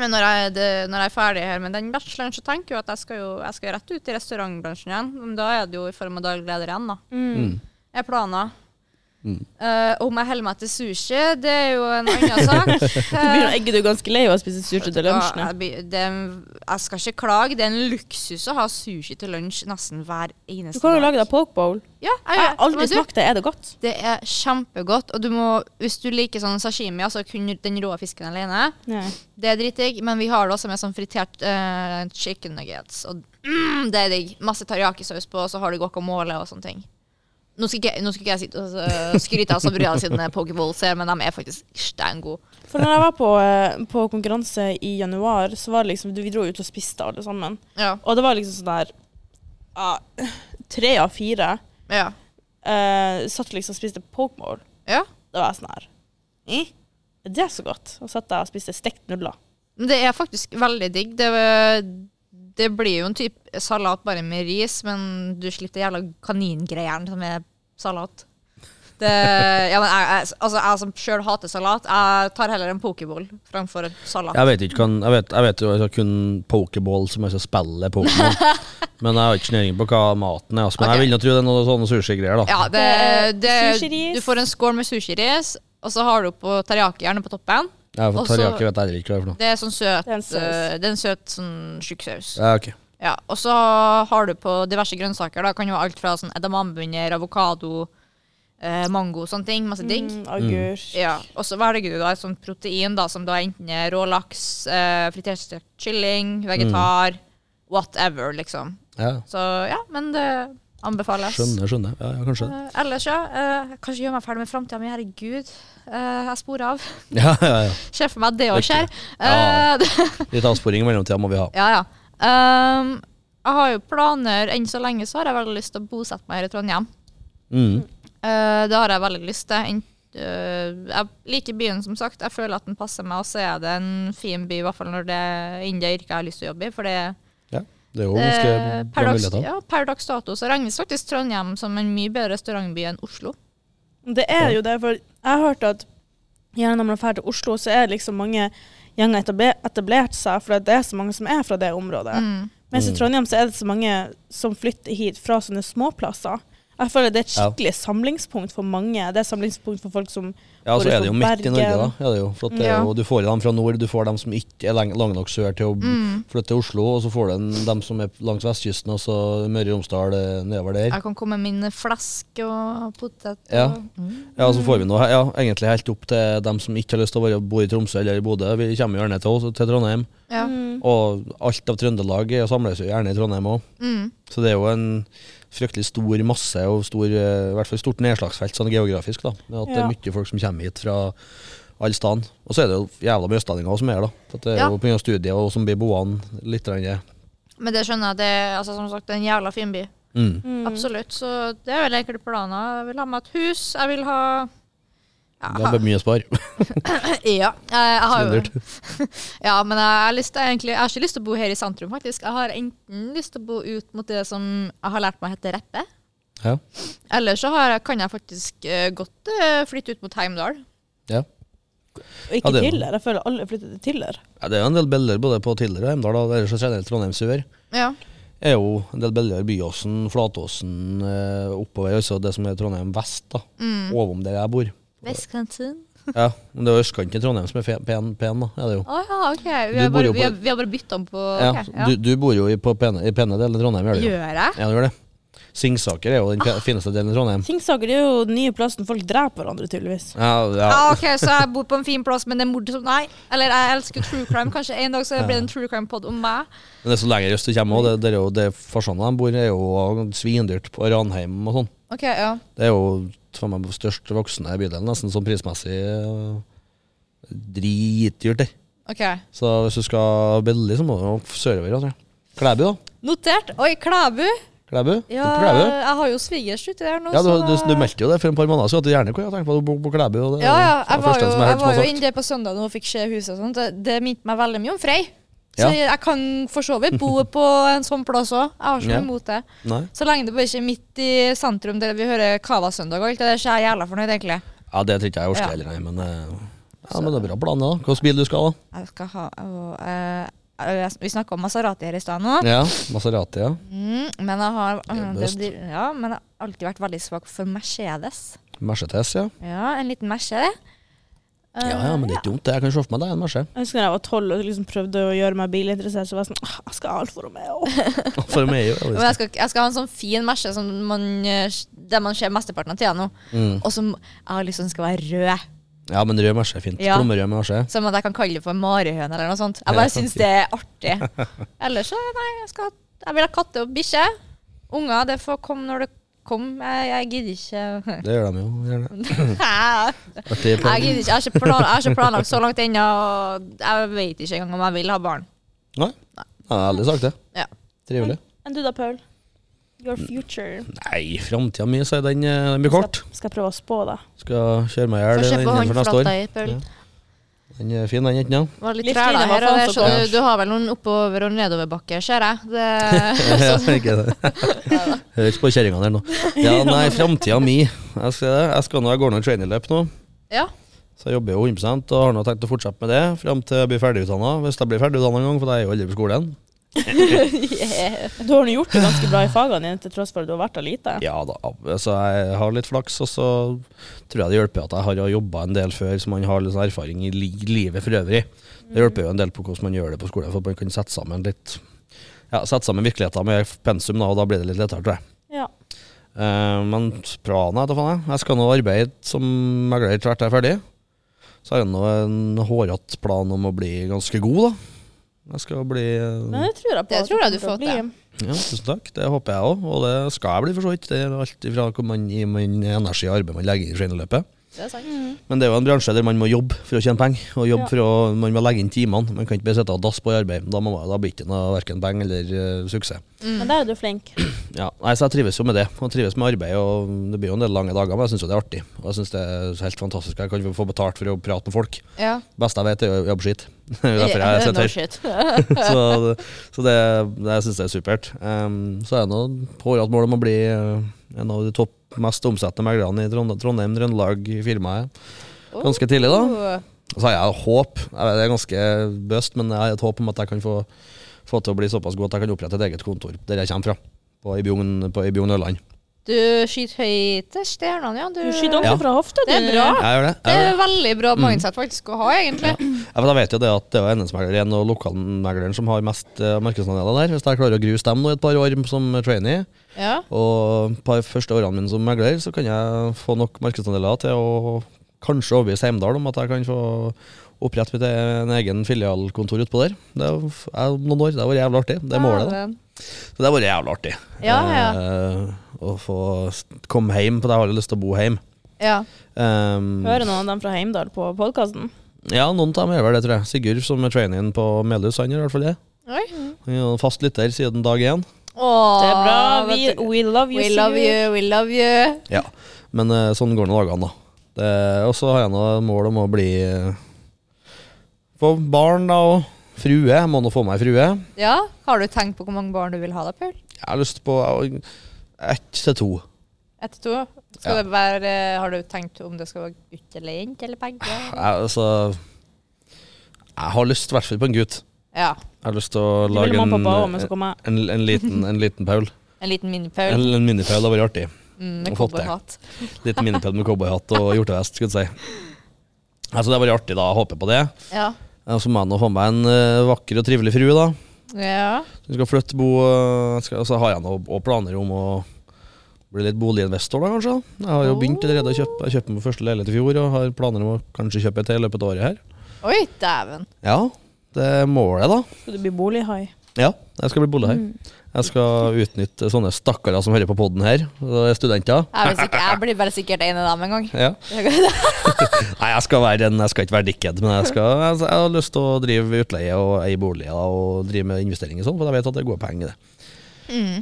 B: men når jeg, det, når jeg er ferdig her med den bacheloren, så tenker jeg at jeg skal jo jeg skal rett ut i restaurantbransjen igjen. Men da er det jo i form av daglig leder igjen, da.
C: Mm.
B: Jeg planer. Eh, om jeg holder meg til sushi, det er jo en annen sak. Eh,
C: Du begynner å egge deg ganske lei av å spise sushi til
B: Ja,
C: lunsjen.
B: jeg, blir- det, er en- jeg skal ikke klage. Det er en luksus å ha sushi til lunsj nesten hver eneste
C: Du kan jo lage deg poke bowl.
B: Ja, jeg,
C: Jeg har aldri
B: men du,
C: smakt det. Er det godt?
B: Det er kjempegodt. Og du må, hvis du liker sånn sashimi, altså kun den rå fisken alene,
C: Nei.
B: det er dritdigg, men vi har det også med sånn fritert eh, chicken nuggets. Og mm, det er digg. Masse teriyaki-saus på, og så har du guacamole og sånne ting. Nå skal ikke, nå skal ikke jeg sitte og eh, skryte av sabrina sine pokeballs her, men de er faktisk steingode.
C: For når jeg var på, eh, på konkurranse i januar, så var det liksom Vi dro ut og spiste alle sammen.
B: Ja.
C: Og det var liksom sånn der ja, Tre av fire
B: Ja.
C: eh, satt liksom og spiste poke bowl.
B: ja.
C: Da var jeg sånn her eh, Er det så godt? Og satt jeg og spiste stekt nudler.
B: Men Det er faktisk veldig digg. Det, det blir jo en type salat bare med ris, men du slipper de jævla kaningreiene som er salat. Det, ja, men jeg, jeg, altså, jeg som sjøl hater salat, jeg tar heller en pokeball framfor en salat.
A: Jeg vet, ikke, hva- jeg vet, jeg vet jo altså, kun pokeball som altså spiller Pokémon. Men jeg har ikke snøring på hva maten er. Altså. Men jeg
B: Ok.
A: vil nå tro det er noe sånne sushigreier. da.
B: Ja, det,
C: Det-
B: det,
C: sushiris.
B: du får en skål med sushiris, og så har du på teriyaki gjerne på toppen.
A: Jeg har fått
B: Også-
A: teriyaki, vet jeg heller ikke hva det er for noe.
B: Det er sånn søt
C: Det er en saus.
B: eh, Det er en søt sånn tjukk saus.
A: Ja, ok.
B: Ja, og så har du på diverse grønnsaker. Da kan jo være alt fra sånn edamamebunner, avokado, eh, mango, sånne ting. Masse digg.
C: Mm, agurk.
B: Ja, Og så velger du da et sånt protein da, som da enten er rå laks, eh, fritert kylling, vegetar, whatever, liksom.
A: Ja,
B: Så ja, men det anbefales.
A: skjønner, skjønner. Ja, ja, kanskje.
B: Eh, ellers, ja. eh, kanskje gjør meg ferdig med framtida mi. Herregud, eh, jeg sporer av.
A: Ja, ja, ja.
B: Ser for meg at det òg skjer.
A: Ja.
B: Eh,
A: Litt avsporing i mellomtida må vi ha.
B: Ja, ja. Ehm, jeg har jo planer Enn så lenge så har jeg veldig lyst til å bosette meg her i Trondheim.
A: Mm.
B: Eh, det har jeg veldig lyst til. Ent- eh, jeg liker byen, som sagt. Jeg føler at den passer meg, og så er det en fin by, i hvert fall når det er innen det yrket jeg har lyst til å jobbe i. For det,
A: Ja, det er jo ganske
B: det Eh, per,
A: bra
B: dags,
A: muligheter.
B: ja, per dags dato så regnes faktisk Trondheim som en mye bedre restaurantby enn Oslo.
C: Det er jo det, for jeg hørte at gjerne når man drar til Oslo, så er det liksom mange gjenger etabe- etablert seg, for det er så mange som er fra det området. Mens
A: Mm.
C: i Trondheim så er det så mange som flytter hit fra sånne småplasser. Jeg føler det er et
A: Ja.
C: skikkelig samlingspunkt for mange. Det er et samlingspunkt for folk som
A: Ja, så
C: Hvor du
A: er det jo
C: får
A: midt i Norge, da.
C: Bergen.
A: Ja, det er jo, for at det er
B: Ja.
A: jo, du får dem fra nord, du får dem som ikke er lang, lang nok sør til å
B: Mm.
A: flytte til Oslo, og så får du en- dem som er langs vestkysten, og så Møre og Romsdal eh, nedover der.
B: Jeg kan komme med mine flesk og potet.
A: Ja.
B: Og, mm.
A: Ja, så får vi nå ja, egentlig helt opp til dem som ikke har lyst til å være, bo i Tromsø eller i Bodø. Vi kommer gjerne til, oss- til Trondheim,
B: ja.
A: Mm. og alt av Trøndelag er- samles jo gjerne i Trondheim òg.
B: Mm.
A: Så det er jo en fryktelig stor masse, og stor, eh, i hvert fall stort nedslagsfelt sånn geografisk. da. Med At det er
C: Ja.
A: mye folk som kommer hit fra alle steder. Og så er det jo jævla mye østlendinger også som er her, da. For at det er
B: Ja.
A: jo pga. studiet og som blir boende litt. grann.
B: Men det skjønner jeg. Det, er, altså, som sagt, det er en jævla fin by.
A: Mm.
B: Absolutt. Så det er vel egentlig planer. Jeg vil ha meg et hus. Jeg vil ha ja,
A: Det blir mye å spare.
B: ja, jeg, jeg har jo,
A: Svindelt.
B: ja, men jeg har, lyst til, egentlig, jeg har ikke lyst til å bo her i sentrum, faktisk. Jeg har enten lyst til å bo ut mot det som jeg har lært meg heter Reppe,
A: ja.
B: eller så har, jeg- kan jeg faktisk eh, godt eh, flytte ut mot Heimdal.
A: Ja.
C: Og ikke
A: Ja, det er-
C: Tiller. Jeg føler alle flytter til Tiller.
A: ja, det er jo en del biller både på Tiller og Heimdal, og ellers så generelt Trondheimsur.
B: Ja.
A: er jo en del biller Byåsen, Flatåsen, eh, oppover, altså det som er Trondheim vest, da.
B: Mm.
A: Ovom der jeg bor.
B: Vestkanten.
A: Ja, men det er jo østkanten i Trondheim som er fe- pen, pen da. Ja, det er jo.
B: Å ja, OK. Vi
A: Du
B: har
A: bor
B: bare,
A: jo på-
B: vi har, vi har bare bytta om på
A: Ja,
B: Ah, ok, ja.
A: Du, du bor jo i, på pene, i pene delen av Trondheim, gjør du? jo?
B: Gjør Ah. jeg?
A: Ja, du gjør det. Singsaker er jo den pe- fineste delen i Trondheim.
C: Tingsaker det er jo den nye plassen folk dreper hverandre, tydeligvis.
A: Ja, ja.
B: Ah, ok, Så jeg bor på en fin plass, men det er morsomt? Nei. Eller jeg elsker true crime. Kanskje en dag så blir det en true crime-pod om meg.
A: Men det er så lenger øst du kommer, og det, det er jo det farsene de bor, er jo svindyrt på Ranheim og sånn.
B: Ok, ja.
A: Det er jo faen meg størst voksne i bydelen, nesten sånn prismessig. eh, Dritdyrt der.
B: Ok.
A: Så hvis du skal billig, så må du opp sørover. Altså. Klæbu, da.
B: Notert. Oi, Klæbu.
A: Klæbu?
B: Ja,
A: På Klæbu?
B: jeg har jo svigers uti der nå.
A: Ja, du,
B: så
A: du,
B: da-
A: du meldte jo det for et par måneder siden, at du gjerne kunne ha tenkt på å bo på Klæbu. Og det, er
B: ja, ja,
A: jo
B: jeg
A: det
B: var
A: første
B: jo,
A: som jeg
B: jeg
A: hørte som
B: var
A: har
B: jo
A: sagt.
B: inne der på søndag og fikk se huset og sånt. Det, det minte meg veldig mye om Frei. Så
A: Ja.
B: jeg kan for så vidt bo på en sånn plass òg. Jeg har ikke
A: Ja.
B: noe imot det.
A: Nei.
B: Så lenge det bare ikke er midt i sentrum der vi hører Cava søndag og alt det der, så er jeg jævla fornøyd, egentlig.
A: Ja, det tror ikke jeg orker
B: Ja.
A: heller, nei. Men, eh, ja, men det er bra planer, da. Hvilken bil du skal ha?
B: Jeg skal ha og, eh, jeg- Vi snakka om Maserati her i stad nå.
A: Ja, Maserati, ja.
B: Mm, men jeg har
A: er
B: det,
A: best.
B: blir- ja, men jeg har alltid vært veldig svak for Mercedes.
A: Mercedes, ja.
B: Ja, en liten Mercedes.
A: Ja, ja, men det er ikke dumt. det. Jeg kan se for meg deg en Merce.
C: Jeg husker da jeg var tolv og liksom prøvde å gjøre meg bilinteressert, så var jeg sånn «Ah, Jeg skal ha Alfa Romeo.
A: For meg er jo
B: Men jeg skal, jeg skal ha en sånn fin Merce som man, eh, der man ser mesteparten av tida nå.
A: Mm.
B: Og som jeg har lyst til den skal være rød.
A: Ja, men rød Merce er fint.
B: Ja.
A: Plommerød Merce.
B: Som at jeg kan kalle det for marihøne eller noe sånt. Jeg
A: Ja,
B: bare syns det er artig. Ellers så nei, jeg, skal, jeg vil ha katte og bikkje. Unger, det får komme når det kommer. Jeg, jeg gidder ikke.
A: Det gjør de jo. gjerne.
B: Hæ?
A: Artig plan.
B: Jeg gidder ikke. Jeg har ikke, plan, jeg har ikke planlagt så langt ennå. og Jeg vet ikke engang om jeg vil ha barn.
A: Nei, jeg har aldri sagt det.
B: Ja.
A: Trivelig.
C: Enn du da, Paul? Your future.
A: Nei, framtida mi, så er den, eh, den blir kort.
C: Skal, skal jeg prøve å spå, da?
A: Skal kjøre meg i hjel
B: Får se på
A: innenfor neste år.
B: håndflata i Paul.
A: Ja. Den er fin, den jenta.
B: var litt
C: Litt
B: trær da
C: fine var
B: her og
C: faen
B: der,
C: så
B: så
A: bra.
B: du, du har vel noen oppover- og nedoverbakke, ser jeg. Det,
A: ja, ikke det. Høres på kjerringene her nå. Ja, nei, framtida mi. Jeg skal, jeg skal nå, jeg går nå i trainerløp nå,
B: ja.
A: så jeg jobber jo 100 og har nå tenkt å fortsette med det fram til jeg blir ferdigutdanna. Hvis jeg blir ferdigutdanna en gang, for jeg er jo aldri på skolen.
C: Du har nå gjort det ganske bra i fagene dine, til tross for at du har vært der lite.
A: Ja da, så jeg har litt flaks, og så tror jeg det hjelper at jeg har jobba en del før, så man har litt sånn erfaring i li livet for øvrig. Det hjelper jo en del på hvordan man gjør det på skolen, for man kan sette sammen litt Ja, sette sammen virkeligheten med pensum, da, og da blir det litt lettere, tror jeg.
C: Ja.
A: Eh, men planen er da faen jeg. Jeg skal nå arbeide som megler etter hvert jeg er ferdig. Så har jeg nå en hårete plan om å bli ganske god, da. Jeg skal bli eh,
C: Men det tror jeg på.
B: Det
C: at
B: tror jeg du
C: kommer
B: får
C: til å
B: til.
C: bli.
A: ja, tusen takk. Det håper jeg òg, og det skal jeg bli for så vidt. Det er alt ifra hvor man gir man energi og arbeid man legger inn i skøyteløpet.
B: Det er sant. Mm.
A: Men det er jo en bransje der man må jobbe for å tjene penger, og jobbe
C: Ja.
A: for å, man må legge inn timene. Man kan ikke bare sitte og dasse på i arbeid. Da, må, man- da blir det ikke noe verken penger eller eh, suksess.
B: Mm.
C: Men der er du flink.
A: Ja, nei, Så jeg trives jo med det, og trives med arbeid. og Det blir jo en del lange dager, men jeg syns jo det er artig. Og jeg syns det er helt fantastisk. Jeg kan jo få betalt for å prate med folk.
B: Ja.
A: Det beste jeg vet, er å jobbe skitt. Det er jo derfor
B: Eh,
A: jeg sitter her
B: her.
A: så så det, det jeg synes jeg er supert. Ehm, så er det noe påratt mål om å bli eh, en av de topp mest omsettende meglerne i Trond Trondheim, Trøndelag, i firmaet. Ganske tidlig, da.
B: Oh.
A: Så har jeg håp. Jeg vet, det er ganske bøst, men jeg har et håp om at jeg kan få, få til å bli såpass god at jeg kan opprette et eget kontor der jeg kommer fra. På Ibjugn- på Ibjugn Ørland.
B: Du skyter høyt til stjernene, ja. Du,
C: Du skyter ordentlig
A: Ja.
C: fra hofta.
B: Mm. Det er
C: du.
B: bra.
A: Jeg gjør det. Jeg,
B: Det er
A: gjør det.
B: veldig
A: Mm.
B: bra mindset faktisk å ha, egentlig.
A: Ja, for jeg vet jo det at det er jo NS-megleren og lokalmegleren som har mest eh, markedsandeler der. Hvis jeg klarer å gruse dem nå i et par år som trainee,
B: Ja.
A: Og på de første årene mine som megler, så kan jeg få nok markedsandeler til å kanskje overbevise Heimdal om at jeg kan få opprette mitt en egen filialkontor utpå der. Det er jo f- er om noen år. Det har vært jævlig artig. Det er målet. da. Så det har vært jævlig artig.
B: Ja, ja.
A: Eh, å få s- komme hjem, for jeg har jo lyst til å bo hjemme.
B: Ja.
A: Um,
C: Hører noen av dem fra Heimdal på podkasten?
A: ja, noen av dem er vel det, tror jeg. Sigurd, som er traineen på Melhus, han gjør i hvert fall det.
B: Oi.
A: Han er jo fast lytter siden dag én.
B: Åh,
C: Det er bra. Vi,
B: vet du-
C: we love you.
B: we love
C: Sigurd.
B: you, we love you.
A: Ja, men eh, sånn går nå dagene, da. Det- Og så har jeg nå mål om å bli eh, Få barn, da, og frue. Jeg må nå få meg frue. Jeg
B: Ja, Har du tenkt på hvor mange barn du vil ha da, Paul?
A: har lyst på eh, ett til to.
B: Ett, to? Skal
A: Ja.
B: det være, har du tenkt om det skal være gutt eller jente eller begge?
A: Jeg, altså Jeg har lyst i hvert fall på en gutt.
B: Ja.
A: Jeg har lyst til å
C: Det
A: lage
C: ville
A: en, eh,
C: mamma og pappa også, men så kom jeg.
A: en, en, liten, en liten Paul.
B: En liten
A: En,
B: mini-Paul
A: en mini-Paul hadde vært artig.
B: mm, med
A: og fått det.
B: cowboyhatt.
A: Liten mini-Paul med cowboyhatt og hjortevest, skulle jeg si. Altså, det hadde vært artig, da. Jeg håper på det.
B: Ja.
A: Eh, Så må jeg nå få meg en eh, vakker og trivelig frue, da.
B: ja.
A: Du skal flytte bo øh, skal, Så har jeg nå og planer om å bli litt boliginvestor, da kanskje. Jeg har jo begynt allerede å kjøpe. Jeg kjøpte min første leilighet i fjor og har planer om å kanskje kjøpe et i løpet av året her.
B: Oi, dæven.
A: Ja, det er målet, da.
C: Skal du bli bolighai?
A: Ja, jeg skal bli bolig her. Jeg skal utnytte sånne stakkarer som hører på poden her, og er studenter.
B: Jeg, blir sikkert, jeg blir bare sikkert en av dem en gang.
A: Ja. Nei, jeg skal, være en, jeg skal ikke være dickhead, men jeg, skal, jeg, jeg har lyst til å drive utleie og eie boliger da, og drive med investeringer og sånn, for jeg vet at det går penger i det.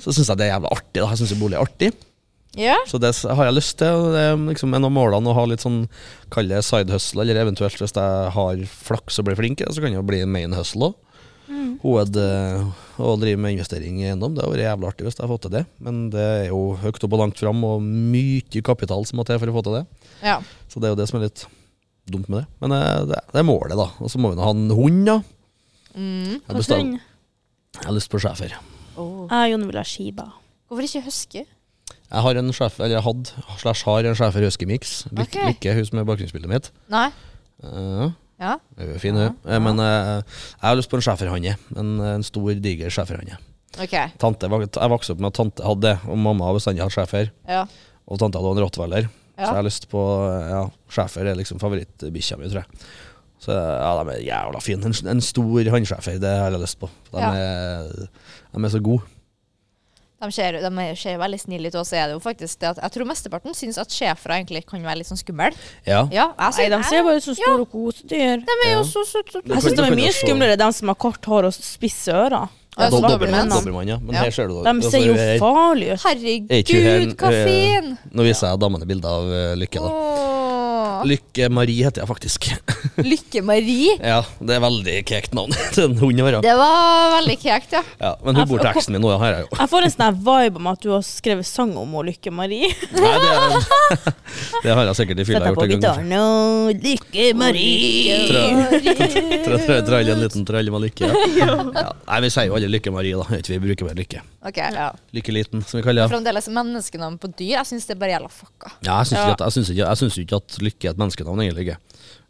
A: Så syns jeg det er jævla artig. da, Jeg syns bolig er artig.
B: Ja.
A: Så det s- har jeg lyst til. og Det er liksom en av målene å ha litt sånn Kall det side hustle, eller eventuelt hvis jeg har flaks og blir flink, så kan jeg jo bli en main hustle òg. Hoved eh, å drive med investering i eiendom. Det hadde vært jævlig artig hvis jeg hadde fått til det. Men det er jo høyt opp og langt fram, og mye kapital som må til for å få til det.
B: ja.
A: Så det er jo det som er litt dumt med det. Men eh, det, det er målet, da. Og så må vi nå ha en hund, da.
B: Mm.
A: Jeg,
C: Hvilken
A: bestem-
C: hund?
A: jeg har lyst på schæfer.
B: Åh.
C: Jeg og Jon vil ha Shiba.
B: Hvorfor ikke huske?
A: Jeg har en schæfer, eller jeg hadde, slash har en schæfer husky mix. Lykke,
B: Ok.
A: lykke hun som er bakgrunnsbildet mitt.
B: Nei.
A: Eh,
B: Ja.
A: Hun er fin, hun. Eh, Men eh, jeg har lyst på en schæferhanne. En, en stor, diger schæferhanne.
B: OK.
A: Tante vok- Jeg vokste opp med at tante hadde det, og mamma har bestandig hatt schæfer.
B: Ja.
A: Og tante hadde også en rottweiler. Så jeg
B: Ja.
A: har lyst på eh, ja, Schæfer er liksom favorittbikkja mi, tror jeg. Så ja, de er jævla fine. En, en stor hannschæfer, det har jeg lyst på. De,
B: Ja.
A: er, de er så gode.
B: De ser, de ser veldig snille ut, og så er det jo faktisk det at jeg tror mesteparten syns at schæfere egentlig kan være litt sånn skumle.
A: Ja.
B: Ja, jeg
C: Nei,
B: synes-
C: de ser bare ut som
B: Ja,
C: store kosedyr.
B: de er
A: Ja.
B: jo så søte.
A: Du
C: Jeg syns
A: kan-
C: de
A: du
C: er
A: kan jo
C: mye
A: se-
C: skumlere, de som har kort hår og spisse ører.
B: Ja,
A: Dob-
B: Doberman.
A: Doberman,
C: Doberman.
A: Doberman, ja. altså, Men
B: Ja.
A: her ser du
C: De ser jo farlige ut.
A: Er ikke hun
B: Herregud,
A: her- eh,
B: hva fin!
A: Nå viser jeg damene bilder av eh, Lykke, eh, da.
B: Åh. Ja.
A: Lykke Marie heter jeg faktisk.
B: Lykke Marie.
A: ja, det er veldig kekt navn til en hund å være.
B: Det var veldig kjekt, ja.
A: Ja, men hun bor til eksen min nå, ja, her er jeg jo.
C: Jeg får en sånn her vibe om at du har skrevet sang om å Lykke Marie.
A: Nei, det, er, det har jeg sikkert i fylla gjort en gang.
C: og Lykke
A: Trø- trø- trø- Tralle en liten tralle med Lykke. Ja. Ja. Nei, vi sier jo alle Lykke Marie, da. Jeg vet ikke, Vi bruker bare Lykke.
B: Ok, ja.
A: Lykke Liten, som vi kaller det.
B: Fremdeles liksom menneskenavn på dyr. Jeg syns det bare gjelder fucka.
A: Ja, jeg syns
C: Ja.
A: ikke, at- jeg syns ikke, jeg syns jo ikke at Lykke er et menneskenavn, egentlig. ikke.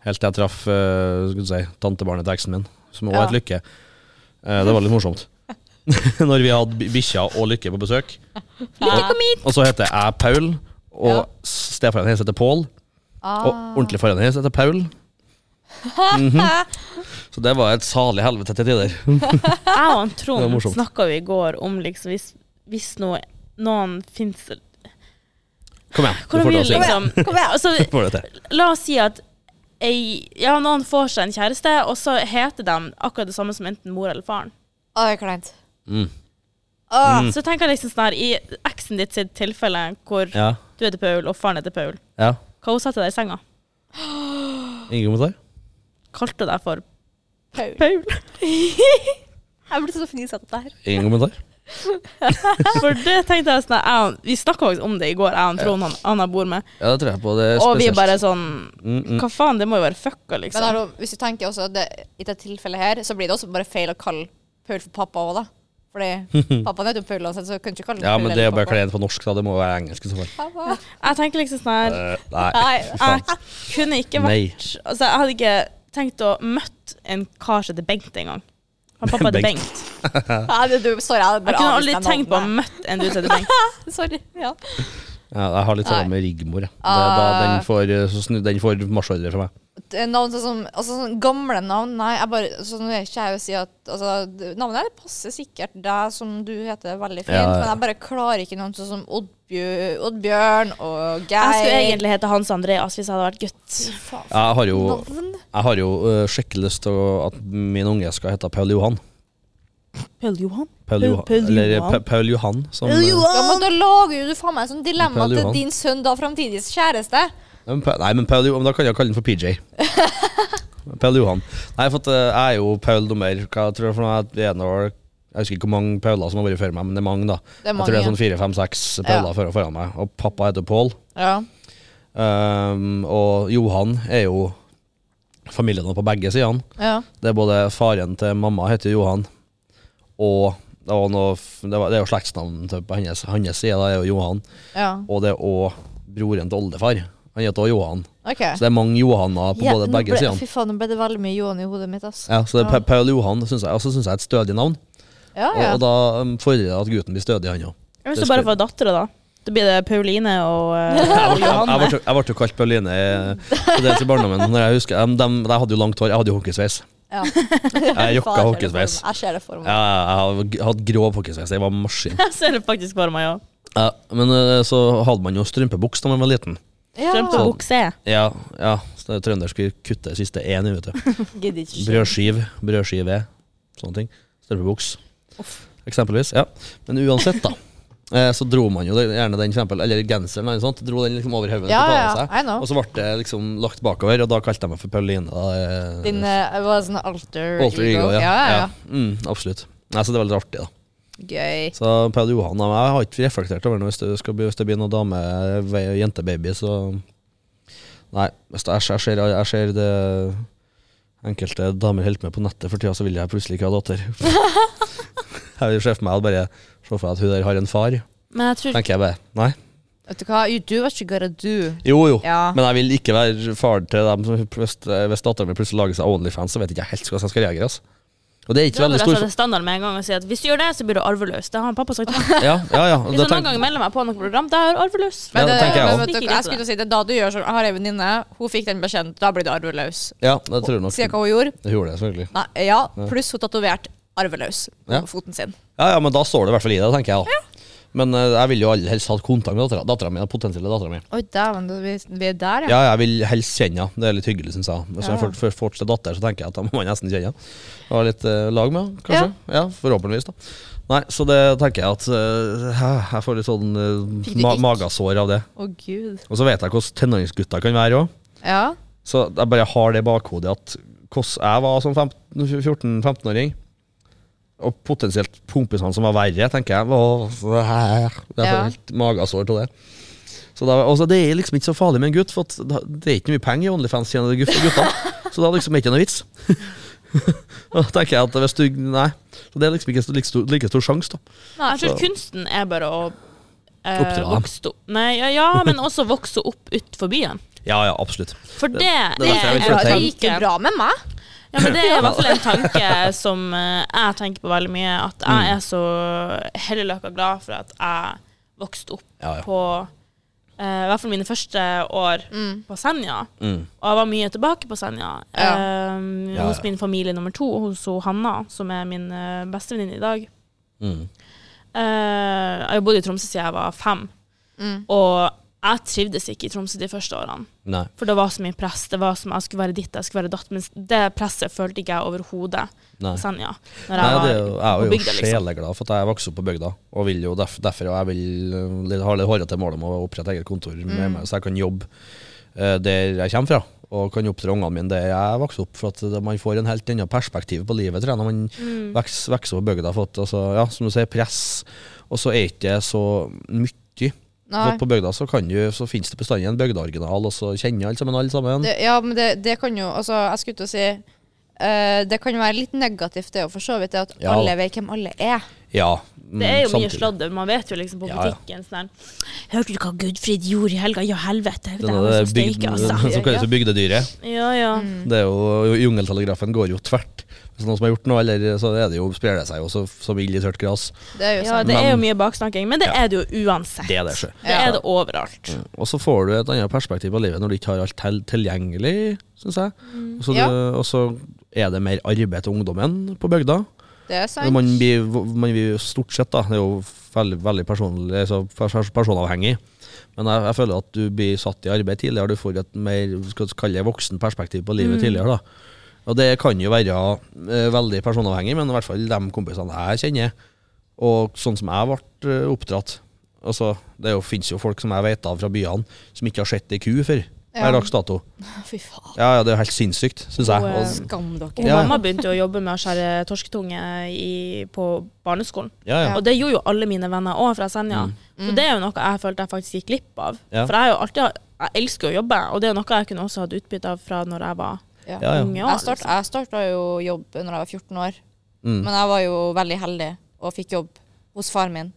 A: Helt til jeg traff eh, skal du si, tantebarnet til eksen min, som også
B: Ja.
A: het Lykke. Eh, det var litt morsomt. Når vi hadde bi- bikkja og Lykke på besøk.
B: Lykke, kom hit!
A: Og så heter jeg Paul, og
B: Ja.
A: stefaren hennes heter Pål. Og ordentlig faren hennes heter Paul. Mhm. Så det var et salig helvete til tider.
C: Jeg og han
A: Det var
C: Trond
A: morsomt.
C: snakka jo i går om liksom hvis, hvis noe, noen fins
A: Kom igjen, du får
C: Hvordan vil
A: det til.
C: liksom altså,
A: Du får det til.
C: La oss si at ei, ja, noen får seg en kjæreste, og så heter de akkurat det samme som enten mor eller faren.
B: Å, det er kleint.
A: Mm.
B: Åh,
C: Så tenker jeg liksom sånn her, i eksen ditt sitt tilfelle hvor
A: Ja.
C: du heter Paul og faren heter Paul,
A: ja.
C: hva hun satte deg i senga?
A: Ingen kommentar?
C: Kalte deg for
B: Paul.
C: Paul?
B: Jeg blir så fnisete av det her.
A: Ingen kommentar?
C: For det tenkte jeg sånn her, jeg, og- Vi snakka faktisk om det i går, jeg og Trond, han, han jeg bor med,
A: Ja, det tror jeg på. Det er
C: og vi er
A: spesielt.
C: bare sånn
A: Mm, mm.
C: Hva faen, det må jo være fucka,
B: Men
C: liksom.
B: hallo, hvis du tenker også at det, i dette tilfellet her, så blir det også bare feil å kalle Paul for pappa òg, da. Fordi pappaen heter jo Paul uansett, så kan du ikke kalle
A: Ja,
B: Paul
A: men det er jo
B: eller
A: bare
B: pappa.
A: kleint på norsk, da. Det må jo være engelsk i så fall.
B: Pappa.
C: Jeg tenker liksom sånn her
A: Eh, Nei,
B: Nei,
A: for faen.
C: Jeg kunne ikke vært
A: Nei.
C: Altså, jeg hadde ikke tenkt å møtt en kar som heter Bengt engang. Han pappa heter
A: Bengt.
C: Bengt.
B: Nei, det, du, sorry, jeg
C: Jeg
B: bare
C: kunne
B: avviste
C: aldri
B: den
C: tenkt på å ha
B: navnet.
C: møtt en du som heter Bengt.
B: Sorry. Ja.
A: Ja, jeg har litt
B: Nei.
A: sånn med Rigmor. jeg. Det, er da,
B: Ah.
A: den får, eh, så snu- den får marsjordre fra meg.
B: Det er Navn sånn som altså, sånn Gamle navn, nei. Jeg bare, sånn vil ikke jeg jo si at altså, d- Navnet her passer sikkert deg, som du heter, veldig fint,
A: Ja, ja.
B: men jeg bare klarer ikke noen sånn som Oddbjør, Oddbjørn og Geir.
C: Jeg skulle egentlig hete Hans Andreas hvis jeg hadde vært gutt.
B: egentlig
A: Jeg har jo,
B: Navn?
A: jeg har jo eh, skikkelig lyst til å- at min unge skal hete Paul Johan.
C: Paul Johan?
A: Paul Johan.
C: Paul
A: Eller eh,
C: Johan.
A: Pa- Paul Johan, som
C: Paul
A: eh,
C: Johan.
B: Ja, men da lager jo du faen meg et sånt dilemma
A: Paul
B: til
A: Johan.
B: din sønn, da framtidig kjæreste.
A: Ja, men Pa- Nei, men Paul, Johan- da kan jeg kalle den for PJ. Paul Johan. Nei, for at eh, jeg er jo Paul nummer Hva tror du for noe? Jeg er nå- jeg husker ikke hvor mange Pauler som har vært før meg, men det er mange, da.
B: Det er
A: jeg tror det er
B: mange.
A: sånn fire, fem, seks Pauler foran, foran meg. Og pappa heter Pål.
B: Ja.
A: Um, og Johan er jo familien på begge sidene.
B: ja.
A: Det er både faren til mamma heter Johan, og det, var noe, f- det, var, det er jo slektsnavnet til- på hennes, hans side, da er jo Johan.
B: ja.
A: Og det er òg broren til oldefar. Han heter òg Johan.
B: OK.
A: Så det er mange Johanner på både begge sidene.
B: Fy faen, nå ble det veldig mye Johan i hodet mitt, ass.
A: Ja, så det er Pa- Paul Johan synes jeg, og så syns jeg er et stødig navn.
B: Ja,
A: Og,
B: ja.
A: og da um, fordrer det at gutten blir stødig, han òg.
C: Hvis du bare får dattera, da. Da blir det Pauline og eh,
A: Jeg jeg- jeg
C: Johanne.
A: ble- jeg ble jo kalt Pauline eh, på dels i barndommen. Når jeg husker, um, dem- jeg hadde jo langt hår, jeg hadde jo hockeysveis.
B: ja.
A: Jeg jokka
B: Faen,
A: hockeysveis.
B: Jeg ser det for meg.
A: Ja, jeg har g- hatt grå pokkesveis. Jeg var maskin.
C: Jeg ser det faktisk for meg òg.
A: Ja, men eh, så hadde man jo strømpebuks da man var liten.
B: Ja.
C: Strømpe og bukse.
A: Ja, ja. Så det er trønder skulle kutte det siste én, vet du.
B: Gidder ikke.
A: Brødskiv, brødskive, sånne ting. Strømpebuks, eksempelvis. Ja. Men uansett, da. eh, Så dro man jo det- gjerne den, for eksempel, eller genseren eller noe sånt, dro den liksom over hodet.
B: Ja,
A: på
B: ja,
A: seg,
B: I know.
A: Og så ble det altså? liksom lagt bakover, og da kalte jeg meg for Pauline. Da, eh,
B: Din eh, var sånn alter,
A: alter ego,
B: Ja, ja, ja.
A: Mm, absolutt. Nei, så det er veldig artig, da.
B: Gøy.
A: Så Paul Johan og jeg har ikke reflektert over noe hvis det skal bli, hvis det blir noen dame, ve- jentebaby, så Nei. Hvis det, jeg, ser- jeg, ser, jeg ser det enkelte damer holder med på nettet for tida, så vil jeg plutselig ikke ha datter. jeg vil se for meg at bare se for meg at hun der har en far,
C: Men jeg tror
A: tenker jeg bare. Nei.
B: Vet du hva, you do what you gotta do.
A: Jo jo.
B: Ja.
A: Men jeg vil ikke være far til dem som hvis, hvis datteren min plutselig lager seg Onlyfans, så vet jeg ikke helt hvordan jeg skal reagere. Altså. Og det er
C: du
A: ikke
C: har
A: veldig
C: rett og
A: stor
C: slett standard med en gang og sier at hvis du gjør det, så blir du arveløs. Det har han pappa sagt. Hvis
A: Ja, ja. ja. Og
C: jeg
A: da
C: noen
A: tenk-
C: gang melder meg på noe program, da er jeg arveløs. eh,
A: Ja, det tenker jeg
B: men
A: også.
B: vet du,
C: Ikke
B: hva, jeg
C: greit
B: skulle si det er da du gjør sånn. Jeg har ei venninne, hun fikk den beskjeden. Da blir du arveløs.
A: ja, det tror jeg nok.
B: Sier jeg hva hun gjorde?
A: Hun gjorde det, selvfølgelig.
B: Nei, ja, pluss hun tatoverte 'arveløs' på
A: Ja.
B: foten sin.
A: Ja, ja, men da står det i hvert fall i det, tenker jeg. da. Men eh, jeg vil jo aller helst ha kontakt med dattera- dattera mi, den potensielle dattera mi.
B: Oi, dæven, vi, vi er der,
A: Ja, jeg vil helst kjenne henne. Det er litt hyggelig, syns jeg. Hvis jeg får- får- får til datter, så tenker jeg at da må man nesten kjenne henne. Ha litt eh, lag med henne, kanskje. Ja. forhåpentligvis, da. Nei, så det tenker jeg at eh, Jeg får litt sånn eh,
B: Fikk du
A: ma
B: ikk?
A: magesår av det.
B: Å, gud.
A: Og så vet jeg hvordan tenåringsgutter kan være òg.
B: Ja.
A: Så jeg bare har det i bakhodet at hvordan jeg var som 14-15-åring, og potensielt kompisene som var verre, tenker jeg var så her. Det er
B: Ja.
A: helt magesår til det. Så da, og så det er liksom ikke så farlig med en gutt, for at da- det er ikke mye penger i OnlyFans igjen av de gutt- guttene. Så da liksom er det ikke noe vits. da tenker jeg at hvis du Nei. Så det er liksom ikke så like stor, like stor sjanse, da.
B: Nei,
C: Jeg tror kunsten er bare å eh,
A: Oppdra dem.
C: vokse opp. Nei, ja, ja, men også vokse opp utenfor byen.
A: Ja ja, absolutt.
C: For det,
A: det er derfor jeg vil
B: Ja,
A: flytte
B: det
A: hjem.
B: gikk jo bra med meg.
C: Ja, men det er i hvert fall en tanke som eh, jeg tenker på veldig mye. At
A: Mm.
C: jeg er så helleløkka glad for at jeg vokste opp
A: Ja, ja.
C: på eh, I hvert fall mine første år på Senja.
A: Mm.
C: Og jeg var mye tilbake på Senja.
B: Ja.
C: eh,
A: Ja,
C: hos
A: ja.
C: min familie nummer to, hos hun Hanna, som er min eh, bestevenninne i dag.
A: Mm.
C: Eh, jeg har bodd i Tromsø siden jeg var fem.
B: Mm.
C: Og jeg trivdes ikke i Tromsø de første årene.
A: Nei.
C: For det var så mye press. Det var som jeg skulle være ditt, jeg skulle være datt. Men det presset følte ikke jeg overhodet.
A: Nei.
C: Senja. Når
A: Nei,
C: jeg
A: det er
C: var
A: jo, jeg er
C: på
A: jo
C: bygda, liksom.
A: sjeleglad for at jeg vokste opp på bygda, og vil jo derf, derfor og jeg vil øh, litt- har litt hårete mål om å opprette eget kontor
C: Mm.
A: med meg, så jeg kan jobbe øh, der jeg kommer fra. Og kan oppdra ungene mine der jeg vokste opp, for at det- man får en helt annen perspektiv på livet tror jeg, når man
C: Mm.
A: vokser, vokser opp på bygda. For at, altså, ja, som du sier, press, og så er ikke det så mye. For
B: Nei.
A: at På bygda så, kan du, så finnes det bestandig en bygdeoriginal, og så kjenner alle sammen alle sammen.
B: Det, ja, men det, det kan jo Altså, jeg skulle til å si eh, Det kan jo være litt negativt, det å for så vidt. Det at
A: Ja.
B: alle vet hvem alle er.
A: ja, mm,
C: Det er jo mye
A: samtidig.
C: sladder. Man vet jo liksom på
A: Ja, ja.
C: butikken sånn her, Hørte du hva Gudfrid gjorde i helga? Ja, helvete. Det
A: Det er
C: var
A: noe
C: så
A: bygd,
C: steike, altså.
A: som kalles for bygdedyret.
C: Ja, ja.
B: Mm.
A: Det er jo, Jungeltelegrafen går jo tvert. Hvis noen som har gjort noe, eller så er det jo, sprer det seg jo så- som ild i tørt gress.
B: Det er jo
C: Ja,
B: sant.
C: det er jo
A: Men-
C: mye baksnakking, men det er det jo uansett.
A: Det er det, Mm. sjø.
C: Det
B: Ja.
C: er det overalt.
A: Og så får du et annet perspektiv på livet når du ikke har alt til, tilgjengelig, syns jeg. Og så
B: Ja.
A: du- og så er det mer arbeid til ungdommen på bygda.
B: Det er
A: Når
B: sant.
A: Man blir, man blir jo stort sett, da, det er jo veldig, veldig personlig, altså pers- personavhengig. Men jeg, jeg føler at du blir satt i arbeid tidligere, du får et mer skal vi kalle det, voksen perspektiv på livet tidligere. da. Og det kan jo være eh, veldig personavhengig, men i hvert fall de kompisene jeg kjenner, og sånn som jeg ble eh, oppdratt altså, Det er jo, finnes jo folk som jeg vet av fra byene, som ikke har sett ei ku før.
B: Ja.
A: Per dags dato.
B: Fy faen.
A: Ja, ja, det er jo helt sinnssykt, syns jeg.
C: Og, eh,
A: Og,
B: Skam dere.
C: Og
A: Ja.
C: Mamma begynte jo å jobbe med å skjære torsketunge i, på barneskolen.
A: ja, ja.
C: Og det gjorde jo alle mine venner òg fra Senja. Så det er jo noe jeg følte jeg faktisk gikk glipp av.
A: Mm. Ja.
C: For jeg, har jo alltid, jeg elsker jo å jobbe, og det er jo noe jeg kunne også hatt utbytte av fra når jeg var
B: Ja.
A: Ja, ja.
C: unge.
B: Jeg
C: også,
B: start- Jeg starta jo jobb når jeg var 14 år,
A: Mm.
B: men jeg var jo veldig heldig og fikk jobb hos faren min.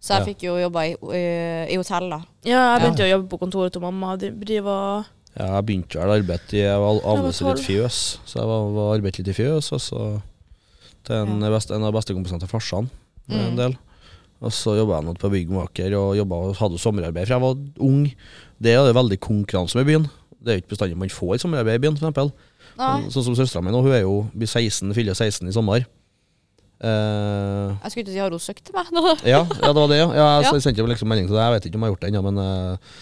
B: Så jeg
A: Ja.
B: fikk jo jobba i, eh, i hotell, da.
C: Ja, jeg begynte jo å jobbe på kontoret til mamma. De driver og
A: Ja, jeg begynte vel arbeid i Jeg var avløser i et
C: tolv.
A: fjøs, så jeg var, var arbeidet litt i fjøs. Og så til en, best, en av bestekompisene til farsan. En del. Og så jobba jeg nå på byggmaker og jobba, hadde sommerarbeid, for jeg var ung. Det er jo veldig konkurranse med byen. Det er jo ikke bestandig man får sommerarbeid i byen, f.eks.
B: Nei.
A: Sånn som søstera mi nå, hun er jo blir 16, fyller 16 i sommer. Eh,
B: Jeg skulle til å si har hun søkt til meg? nå?
A: ja, ja, det var det, ja. ja jeg
B: Ja.
A: sendte jo liksom melding til deg. Jeg vet ikke om jeg har gjort det ennå, men eh,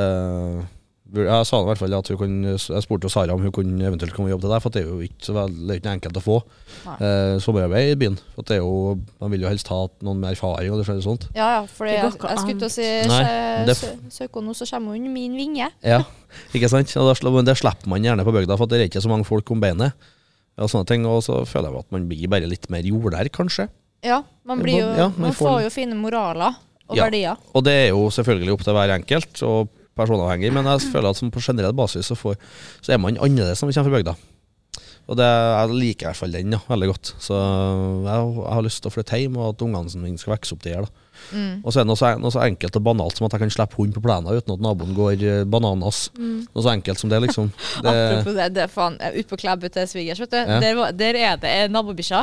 A: eh, jeg sa i hvert fall at hun kunne, jeg spurte jo Sara om hun kunne eventuelt komme og jobbe til deg, for det er jo ikke så veld, det er jo ikke enkelt å få
B: Nei.
A: eh, sommerarbeid i byen. For det er jo, Man vil jo helst ha noen med erfaring og det slags sånt.
B: Ja, ja, for
C: Det
B: jeg, jeg,
C: går ikke
B: skulle til å si
A: Nei,
B: sø-
A: det
B: sø- Søker hun nå, så kommer hun under min vinge.
A: Ja, ikke sant? Og da, sl- men det slipper man gjerne på bygda, for det er ikke så mange folk om beinet. Og sånne ting, og så føler jeg at man blir bare litt mer jordær, kanskje.
B: Ja, man, blir jo,
A: Ja, man
B: man
A: får-
B: får jo fine moraler og
A: Ja.
B: verdier.
A: Og det er jo selvfølgelig opp til hver enkelt og personavhengig, men jeg føler at som på generell basis så, får, så er man annerledes når man kommer fra bygda. Og det, jeg liker i hvert fall den ja, veldig godt. Så jeg, jeg har lyst til å flytte hjem, og at ungene mine skal vokse opp der. Da. Og så er det noe så, noe så enkelt og banalt som at jeg kan slippe hund på plenen uten at naboen går eh, bananas. Noe så enkelt som det, liksom. Det,
B: Apropos det, det er faen, jeg er ute på Klæbu til svigers, vet du.
A: Ja. Mhm.
B: Der, var- der er det en nabobikkja.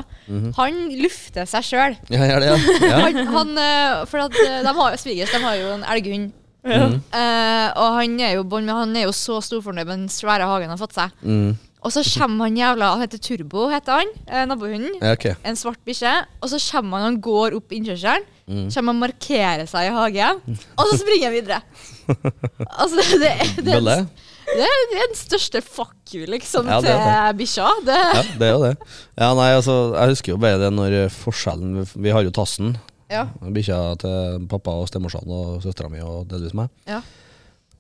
B: Han lufter seg sjøl.
A: ja, ja, det, ja. Ja.
B: Han, han, eh, for at eh, de har jo svigers, de har jo en elghund.
A: Mm.
B: Eh, og han er jo bånd, men han er jo så storfornøyd med den svære hagen han har fått seg.
A: Mm.
B: Og så kommer han jævla Han heter Turbo, heter han. eh, Nabohunden.
A: ja, ok.
B: en svart bikkje, og så kommer han, han går opp innkjørselen,
A: Mm.
B: kommer han og markerer seg i hagen, og så springer han videre. Altså, det, det, er- det,
A: Bølle?
B: er, det, er, det er den største fuck you, liksom,
A: Ja, det er
B: til bikkja. Det,
A: Ja, det er jo det. Ja, nei, altså, jeg husker jo bare det når eh, forskjellen Vi har jo Tassen,
B: ja.
A: Bikkja til pappa og stemorsan og søstera mi og delvis meg.
B: Ja.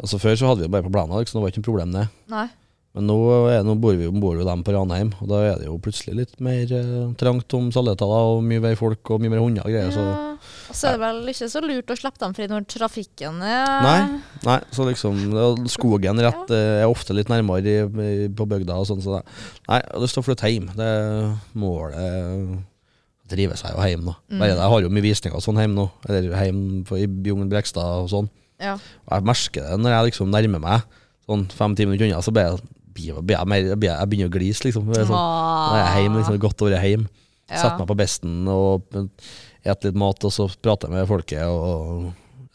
A: Altså Før så hadde vi det bare på Blana, liksom, det var ikke noe problem det.
B: Nei.
A: Men nå, er, nå bor vi bor jo dem på Ranheim, og da er det jo plutselig litt mer eh, trangt om saletaller og mye vei folk og mye mer hunder og greier. Så,
B: Ja. Og så er det vel ikke så lurt å slippe dem fri når trafikken er
A: Nei. nei, så liksom det- Skogen rett eh, er ofte litt nærmere i, i, på bygda og sånn. Så det, nei, jeg har lyst til å flytte hjem. Det er målet Drive seg jo hjem nå. Bare det, Jeg har jo mye visninger og sånn hjem nå. Eller hjem på, i Bjugn Brekstad og sånn.
B: Ja.
A: Og jeg merker det når jeg liksom nærmer meg sånn fem-ti minutter unna, så blir jeg, blir, blir jeg, mer, blir jeg, jeg begynner å glise, liksom. Det er Sånn, nå er jeg hjemme, liksom, godt å være hjemme.
B: Ja.
A: Sette meg på besten og et litt mat, og så prate med folket. Og,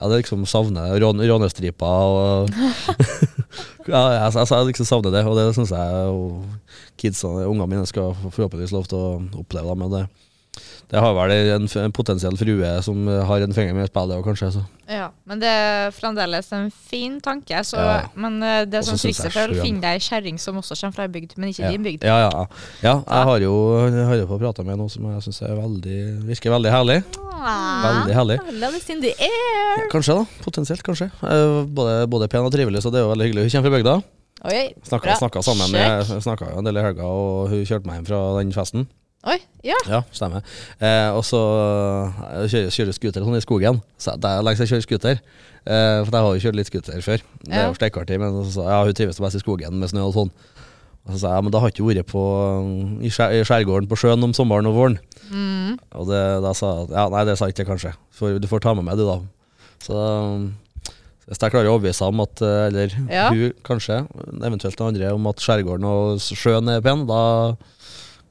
A: ja, det liksom savner jeg. Rån, rånestripa og ja, jeg, jeg, jeg liksom savner det, og det syns jeg jo kidsene, ungene mine skal forhåpentligvis lov til å oppleve. Da, men det, det har vel en, f- en potensiell frue som har en finger med i spillet, og kanskje. Så.
B: Ja, men det er fremdeles en fin tanke. Så,
A: Ja.
B: Men eh, det
A: Og så
B: som
A: synes jeg
B: trikset for å
A: sjøen.
B: finne deg ei kjerring som også kommer fra ei bygd, men ikke
A: ja.
B: din bygd.
A: Ja, ja, ja. ja jeg har jo, jeg har jo på prata med noen som jeg syns virker veldig herlig.
B: Ah,
A: Veldig herlig.
B: Love is in the air.
A: Ja, kanskje, da. Potensielt, kanskje. Eh, Både, både pen og trivelig, så det er jo veldig hyggelig. Hun kommer fra bygda.
B: Oi,
A: Snakka,
B: bra.
A: snakka sammen
B: Sjekk.
A: med, snakka jo en del i helga, og hun kjørte meg hjem fra den festen.
B: Oi, ja.
A: Ja, stemmer. Eh, og så eh, kjører, kjører skuter sånn i skogen. Så det er lenge siden jeg kjører skuter. Eh, for jeg har jo kjørt litt skuter før. Det er
B: Ja.
A: jo stekkartig, men så sa jeg ja, hun trives best i skogen med snø og sånn. Og så sa jeg men da har ikke vært på, eh, i, skjær, i skjærgården på sjøen om sommeren og våren. Og det, da sa jeg at ja, nei, det sa jeg ikke, kanskje. For du får ta med meg, du, da. Så um, hvis jeg klarer å overbevise ham at, eh, eller
B: Ja.
A: hun kanskje, eventuelt den andre, om at skjærgården og s- sjøen er pen, da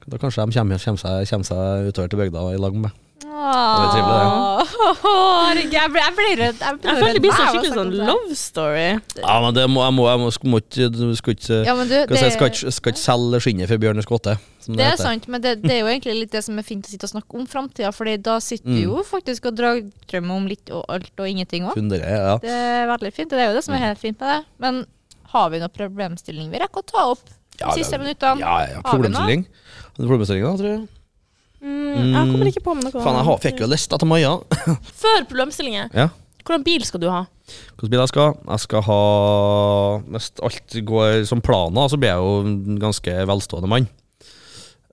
A: da kanskje de kommer, kommer, seg, kommer seg utover til bygda i lag med meg. var trivelig, det.
B: Herregud, jeg ble, jeg ble rød. Jeg, ble
C: Jeg føler det blir
B: rød hver
C: sånn
B: gang jeg
C: skikkelig
B: snakker om
C: sånn
B: det.
C: love story.
A: Ja, men det må, jeg må, jeg må, skal må ikke du skal ikke
B: Ja, men du,
A: skal, jeg si, skal,
B: det,
A: ikke, skal ikke selge skinnet for bjørn og skotte. som
B: det er
A: heter.
B: sant, men det, det er jo egentlig litt det som er fint å sitte og snakke om framtida, Fordi da sitter du
A: Mm.
B: jo faktisk og dagdrømmer om litt og alt og ingenting òg.
A: Fundere, ja.
B: Det er veldig fint. Det er jo det som er helt fint med det. Men har vi noen problemstilling vi rekker å ta opp de
A: Ja,
B: siste
A: det-
B: minuttene?
A: Ja, ja, problemstilling. Problemstilling da, tror jeg.
C: Mm, jeg kommer ikke på med noe.
A: Faen, jeg har- fikk jo lista til Maja.
C: Før problemstillinger,
A: Ja.
C: hvordan bil skal du ha?
A: Hvilken bil jeg skal? Jeg skal ha Hvis alt går som planer, så blir jeg jo en ganske velstående mann.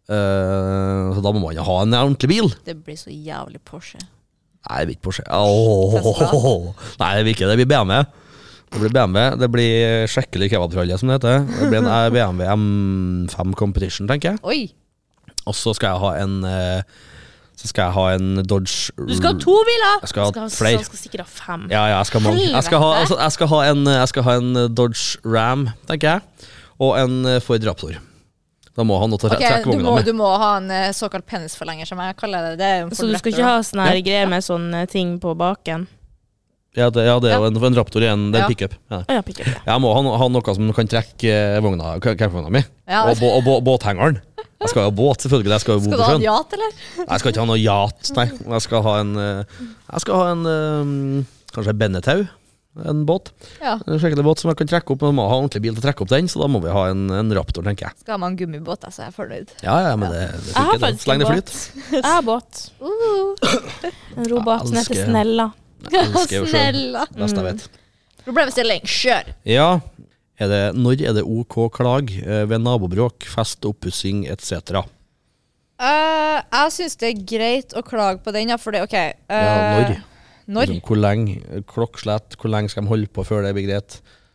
A: Eh, så da må man jo ha en ordentlig bil.
B: Det blir så jævlig Porsche.
A: Nei, det blir ikke Porsche. Åh. Nei, det blir ikke det. Det blir BMW. Det blir BMW, det blir skikkelig kebabtralle, som det heter. Det blir en eh, BMW M5 Competition, tenker jeg.
B: Oi!
A: Og så skal jeg ha en eh, Så skal jeg ha en Dodge
C: Du skal ha to biler!
A: Jeg skal ha
C: Du
A: flere.
C: Så skal sikkert ha fem.
A: Ja, ja, jeg skal, ha mange. Jeg skal, ha, altså, jeg, skal ha en, jeg skal ha en eh, Dodge Ram, tenker jeg. Og en eh, Ford Raptor. Da må han nå ta
B: Ok,
A: okay,
B: du
A: trekkvogna
B: må,
A: mi.
B: du må ha en eh, såkalt penisforlenger, som jeg kaller det. det er jo en
C: Så du skal
B: forletter,
C: ikke
B: da.
C: ha sånne her greier med sånne ting på baken?
A: Ja, det, ja, det er jo
B: Ja.
A: en, for en Raptor er en, det er en
B: Ja.
A: pickup. Ja.
C: Å ja, pickup. ja.
A: Jeg må ha, no- ha noe som kan trekke eh, vogna, campingvogna mi.
B: Ja.
A: Og, bå- og bå- båthengeren. Jeg skal jo ha båt, selvfølgelig. Jeg skal jo bo
B: Skal
A: på
B: du ha en
A: sjøen.
B: yacht, eller?
A: Nei, Jeg skal ikke ha noe yacht, nei. Jeg skal ha en, eh, jeg skal ha en eh, kanskje Bennetau. En båt.
B: Ja.
A: En skikkelig båt som jeg kan trekke opp. Men jeg må ha ordentlig bil til å trekke opp den, så da må vi ha en, en Raptor, tenker jeg.
B: Skal ha meg en gummibåt, da, så er jeg fornøyd.
A: Ja, ja, men det, det
C: Jeg har
A: funker. det.
C: faktisk
A: Så lenge det
C: en
A: flyter.
C: Jeg har båt.
B: Uh,
C: En robåt som heter
A: elsker-
C: Snella.
A: elsker jo sjøen.
B: Snella.
A: Best jeg vet.
B: Problemstilling, kjør!
A: Ja, er det, når er det OK klag eh, ved nabobråk, fest, oppussing etc.?
B: Eh, jeg syns det er greit å klage på den, ja, for det OK. eh,
A: Ja, når?
B: Når?
A: Liksom, Hvor lenge eh, klokkslett, hvor lenge skal de holde på før det blir greit?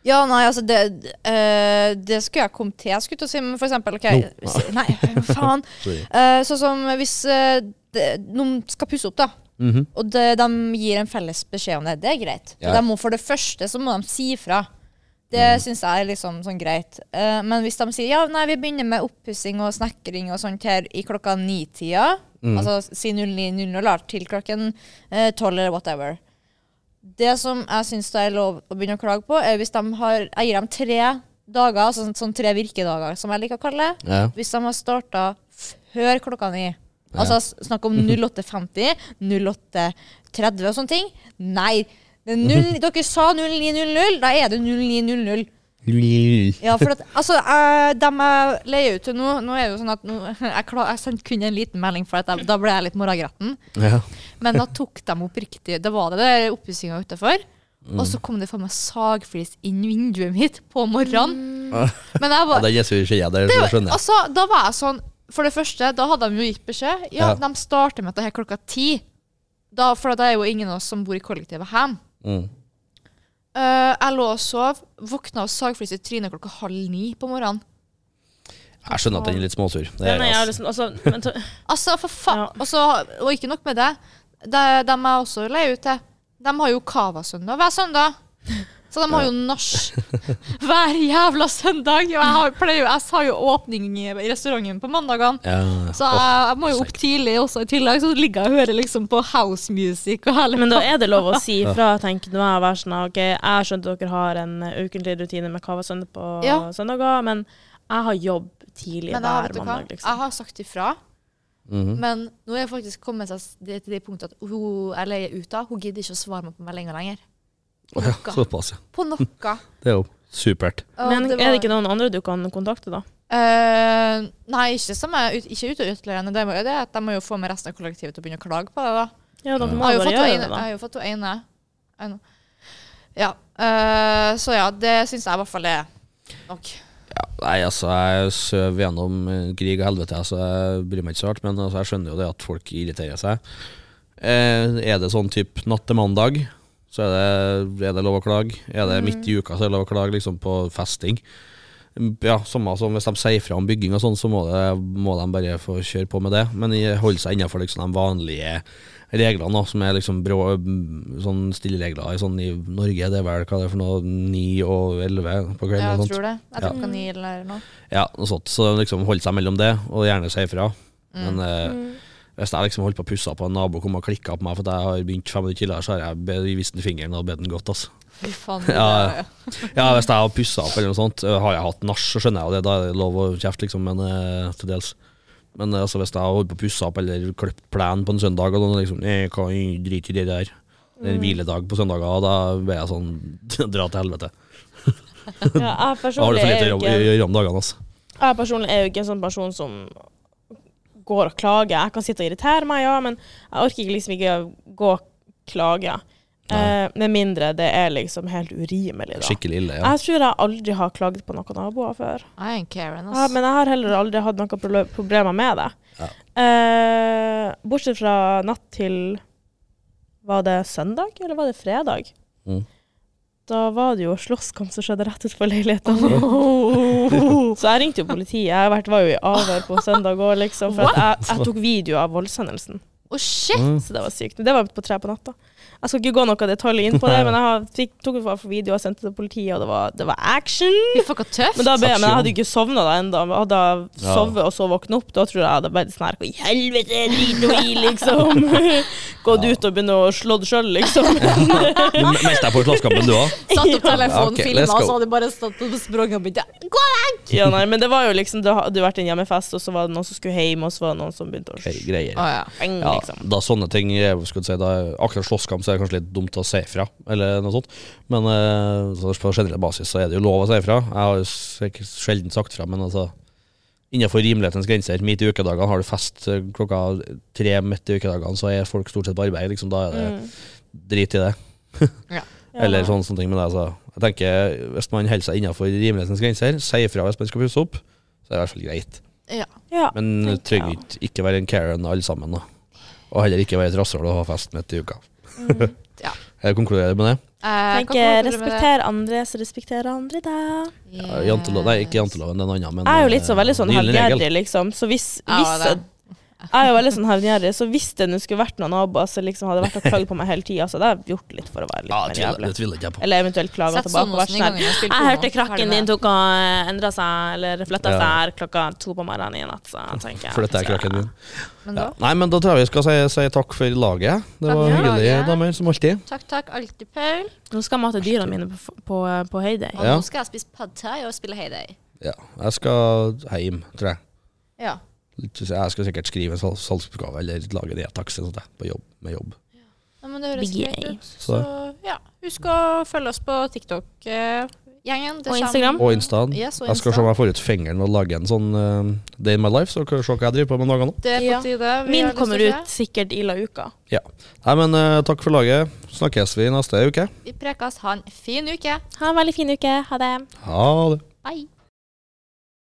B: Ja, nei, altså det, eh, det skulle jeg komme til, jeg skulle til å si, men for eksempel ok,
A: Nå.
B: hvis- Nei, faen.
A: Sorry.
B: Eh, sånn som hvis eh, det, noen skal pusse opp, da.
A: Mhm.
B: Og det, de gir en felles beskjed om det. Det er greit.
A: Ja. Mhm.
B: De må, for det første så må de si fra. Det synes syns jeg er liksom sånn greit. Eh, men hvis de sier ja, nei, vi begynner med oppussing og snekring og sånt her i klokka ni-tida,
A: Mhm.
B: altså si 09.00 da, til klokken eh, tolv eller whatever, det som jeg syns det er lov å begynne å klage på, er hvis de har Jeg gir dem tre dager, altså sånn, sånn tre virkedager, som jeg liker å kalle det.
A: Ja.
B: Hvis de har starta før klokka ni, altså s- snakk om 08.50, 08.30 og sånne ting Nei! Det er null- dere sa 09.00, da er det 09.00. Ja, for at, altså, jeg, dem jeg leier ut til nå Nå er det jo sånn at nå, jeg, kla- jeg sendte kun en liten melding, for at jeg, da ble jeg litt morragretten.
A: Ja.
B: Men da tok de opp riktig Det var det der oppussinga utafor.
A: Mm.
B: Og så kom det faen meg sagflis inn vinduet mitt på morgenen. Men jeg
A: Mm. Ja,
B: var,
A: den er så ikke jeg der,
B: det
A: så
B: var,
A: det skjønner jeg.
B: altså, da var jeg sånn For det første, da hadde de jo gitt beskjed. Ja,
A: Ja.
B: de starter med dette her klokka ti. Da, for da er jo ingen av oss som bor i kollektivet hjemme.
A: Mm.
B: Eh, jeg lå og sov, våkna av sagflis i trynet klokka halv ni på morgenen.
A: Jeg skjønner at den er litt småsur. Det
C: Den
A: er,
C: er
A: jeg,
C: jævlig
A: altså.
C: sånn altså, men, ta-
B: Altså, for faen.
C: Ja.
B: Og, så- og ikke nok med det. De, de er også leie ut til. De har jo Cava-søndag hver søndag. Så de har jo nach hver jævla søndag. Og jeg, har, pleier, jo- jeg har jo åpning i restauranten på mandagene.
A: Ja.
B: Så jeg, jeg må jo opp tidlig også i tillegg. Så ligger jeg og hører liksom på house music og hele
C: men da er det lov å si ifra, tenker jeg, og være sånn OK, jeg skjønte dere har en eh, ukentlig rutine med kava søndag på
B: Ja.
C: søndager, men jeg har jobb tidlig
B: Men jeg, har- vet
C: hver
B: du hva?
C: mandag,
B: jeg
C: liksom.
B: har sagt ifra.
A: Mhm.
B: Men nå er jeg faktisk kommet seg s- det- til det punktet at hun jeg leier ut av, hun gidder ikke å svare meg på meldinger lenger. På
A: ja,
B: noe.
A: såpass, ja.
B: På noe.
A: Det er jo supert.
B: Og
C: Men er
B: var-
C: Ah, det ikke noen andre du kan kontakte, da?
B: Eh, nei, ikke som er ut, ikke ute og utleierne. Det må- det er at de må jo få med resten av kollektivet til å begynne å klage på det. da.
C: Ja, dere
B: Jeg
C: må
B: har jo
C: bare
B: fått
C: gjøre
B: henne ene.
C: det,
B: Jeg
C: da.
B: har jo fått henne ene. En- Ja. eh, så ja, det syns jeg i hvert fall er nok.
A: Nei, altså, jeg søv gjennom eh, krig og helvete, så jeg bryr meg ikke så hardt. Men altså, jeg skjønner jo det at folk irriterer seg. Eh, er det sånn type natt til mandag, så er det, er det lov å klage. Er det midt i uka, så er det lov å klage liksom på festing. Ja, samme som hvis de sier fra om bygging og sånn, så må, det, må de bare få kjøre på med det. Men de holder seg innenfor liksom, de vanlige reglene, da, som er liksom brå, sånn stilleregler i, sånn, i Norge. Det er vel hva det er for noe, ni og elleve på kvelden?
B: Ja,
A: og
B: jeg
A: sånt.
B: tror det. Jeg
A: Ja.
B: tror ikke han gir eller noe.
A: Ja, noe sånt. Så liksom holde seg mellom det, og gjerne si ifra.
B: Mm.
A: Men eh, hvis jeg liksom holdt på å pusse på en nabo kom og klikka på meg for at jeg har begynt fem minutter tidligere, så har jeg be- vist den fingeren og bedt den godt, altså.
B: Fy faen.
A: Ja,
B: det er-
A: Ja, hvis jeg har pussa opp eller noe sånt, eh, har jeg hatt nach, så skjønner jeg jo det. Da er det lov å kjefte, liksom, men eh, til dels. Men eh, altså, hvis jeg har holdt på å pusse opp eller klippet plenen på en søndag, og noen liksom eh, hva, drit i det der. Det er en hviledag på søndager, og da blir jeg sånn dra til helvete.
C: Ja, jeg
A: Da har du
C: personlig
A: for
C: er
A: lite å
C: jo
A: jobbe-
C: ikke
A: gjøre om dagene, altså.
C: Jeg personlig er jo ikke en sånn person som går og klager. Jeg kan sitte og irritere meg, ja, men jeg orker ikke liksom ikke å gå og klage. Eh, med mindre det er liksom helt urimelig, da.
A: Skikkelig ille, ja.
C: Jeg tror jeg aldri har klagd på noen naboer før.
B: Jeg er en Karen,
C: Ja,
B: ass.
C: men jeg har heller aldri hatt noen proble- problemer med det.
A: Ja.
C: Eh, bortsett fra natt til Var det søndag, eller var det fredag?
A: Mm.
C: Da var det jo slåsskamp som skjedde rett utenfor leiligheten. Så jeg ringte jo politiet. Jeg har vært- var jo i avhør på søndag òg, liksom. For at jeg, jeg tok video av voldshendelsen.
B: Å, shit!
A: Mm.
C: Så det var sykt. Men det var på tre på natta. Jeg skal ikke gå noe detalj inn på det, men jeg har, fikk, tok i hvert fall video og sendte til politiet, og det var, det var action.
B: Fy fucka tøft.
C: Men da ble jeg, men jeg
A: Aksjon.
C: hadde ikke sovna da ennå. Hadde jeg
A: Ja.
C: sovet og så våkna opp, da tror jeg jeg hadde bare sånn her Hva i helvete, drit nå i, liksom. Gått ut og begynt å slå det sjøl, liksom.
A: Du meldte deg på slåsskampen, du òg?
B: Satt opp
A: Ok,
B: telefonen,
A: let's
B: filma, og
A: go.
B: så hadde jeg bare stått og spranget og begynt «Ja, Gå vekk!
C: Ja, nei, men det var jo liksom Det hadde jo vært en hjemmefest, og så var det noen som skulle hjem, og så var det noen som begynte å
A: Hey,
C: slenge,
A: greier.
B: Å, ja.
A: Ja,
C: liksom.
A: da sånne ting er, skulle jeg si, da, Akkurat slåsskamp så er det kanskje litt dumt å si fra, eller noe sånt. Men eh, så på generell basis så er det jo lov å si fra. Jeg har jo sikkert sjelden sagt fra, men altså Innenfor rimelighetens grenser. Midt i ukedagene har du fest eh, klokka tre midt i ukedagene, så er folk stort sett på arbeid. Liksom, da er det
C: Mm.
A: drit i det. Eller sånne, sånne ting. Men altså, jeg tenker, hvis man holder seg innenfor rimelighetens grenser, sier fra hvis man skal pusse opp, så er det i hvert fall greit.
B: Ja.
C: Ja.
A: Men
C: tenker
A: trenger
C: jeg.
A: ikke, ikke være en Karen alle sammen, da. Og heller ikke være et rasshøl og ha fest midt i uka.
C: Mm,
B: Ja.
A: Jeg konkluderer med det.
B: Eh, hva konkluderer du med
C: Tenker
B: det?
C: respekter andre, så respekterer andre deg.
A: Ja, Jantelov, nei, ikke janteloven, det er en annen. Men,
C: Eh, Jeg er jo litt sånn veldig sånn
A: eh, gyllen regel.
C: hevngjerrig, liksom. Så hvis,
B: Ja,
C: hvis
B: det er.
C: jeg er jo veldig sånn hevngjerrig, så hvis det nå skulle vært noen naboer som liksom hadde vært og klagd på meg hele tida, så hadde jeg gjort litt for å være litt
A: Ja,
C: mer
A: tviler-
C: jævlig.
A: det tviler ikke jeg på.
C: Eller eventuelt klage
B: Sett
C: tilbake. og være
B: Sonosen i
C: sånn her,
B: gangen og spill
C: Jeg
B: porno.
C: hørte
B: Ferdig
C: krakken
B: med
C: din
B: det.»
C: tok og endra seg, eller flytta
A: Ja.
C: seg her klokka to på morgenen i natt, så jeg tenker
A: For dette er krakken min.
B: Men
A: Ja.
B: da,
A: Nei, men da tror jeg vi skal si, si takk for laget. Det
B: Takk
A: var
B: for
A: hyggelig,
B: laget.
A: damer, som alltid.
B: takk, takk, alltid, Paul.
C: Nå skal jeg mate dyra mine på, på, på Heyday.
B: Og
A: Ja.
B: nå skal jeg spise pad thai og spille Heyday.
A: Ja, jeg skal hjem, tror jeg.
B: Ja.
A: Litt- Jeg skal sikkert skrive en sal- salgsoppgave eller lage det taxi sånn at jeg på jobb, med jobb.
B: Nei, men det høres
C: Big
B: greit
C: A.
B: ut. Så ja, husk å følge oss på TikTok. eh, Gjengen, det
C: Og
B: kommer-
C: Instagram.
A: Og Instaen.
B: Yes, og
A: Jeg skal se
B: Insta.
A: om jeg får ut fingeren og lage en sånn eh, Day in my life, så kan vi se hva jeg driver på med dagene.
B: Det er
C: Ja.
B: på tide. vi har
C: Min
B: lyst til
C: kommer
B: å se.
C: ut sikkert i la uka.
A: Nei, men eh, takk for laget. Snakkes vi neste uke.
B: Vi prekes. Ha en fin uke.
C: Ha en veldig fin uke. Ha det.
A: Ha det.
B: Bye.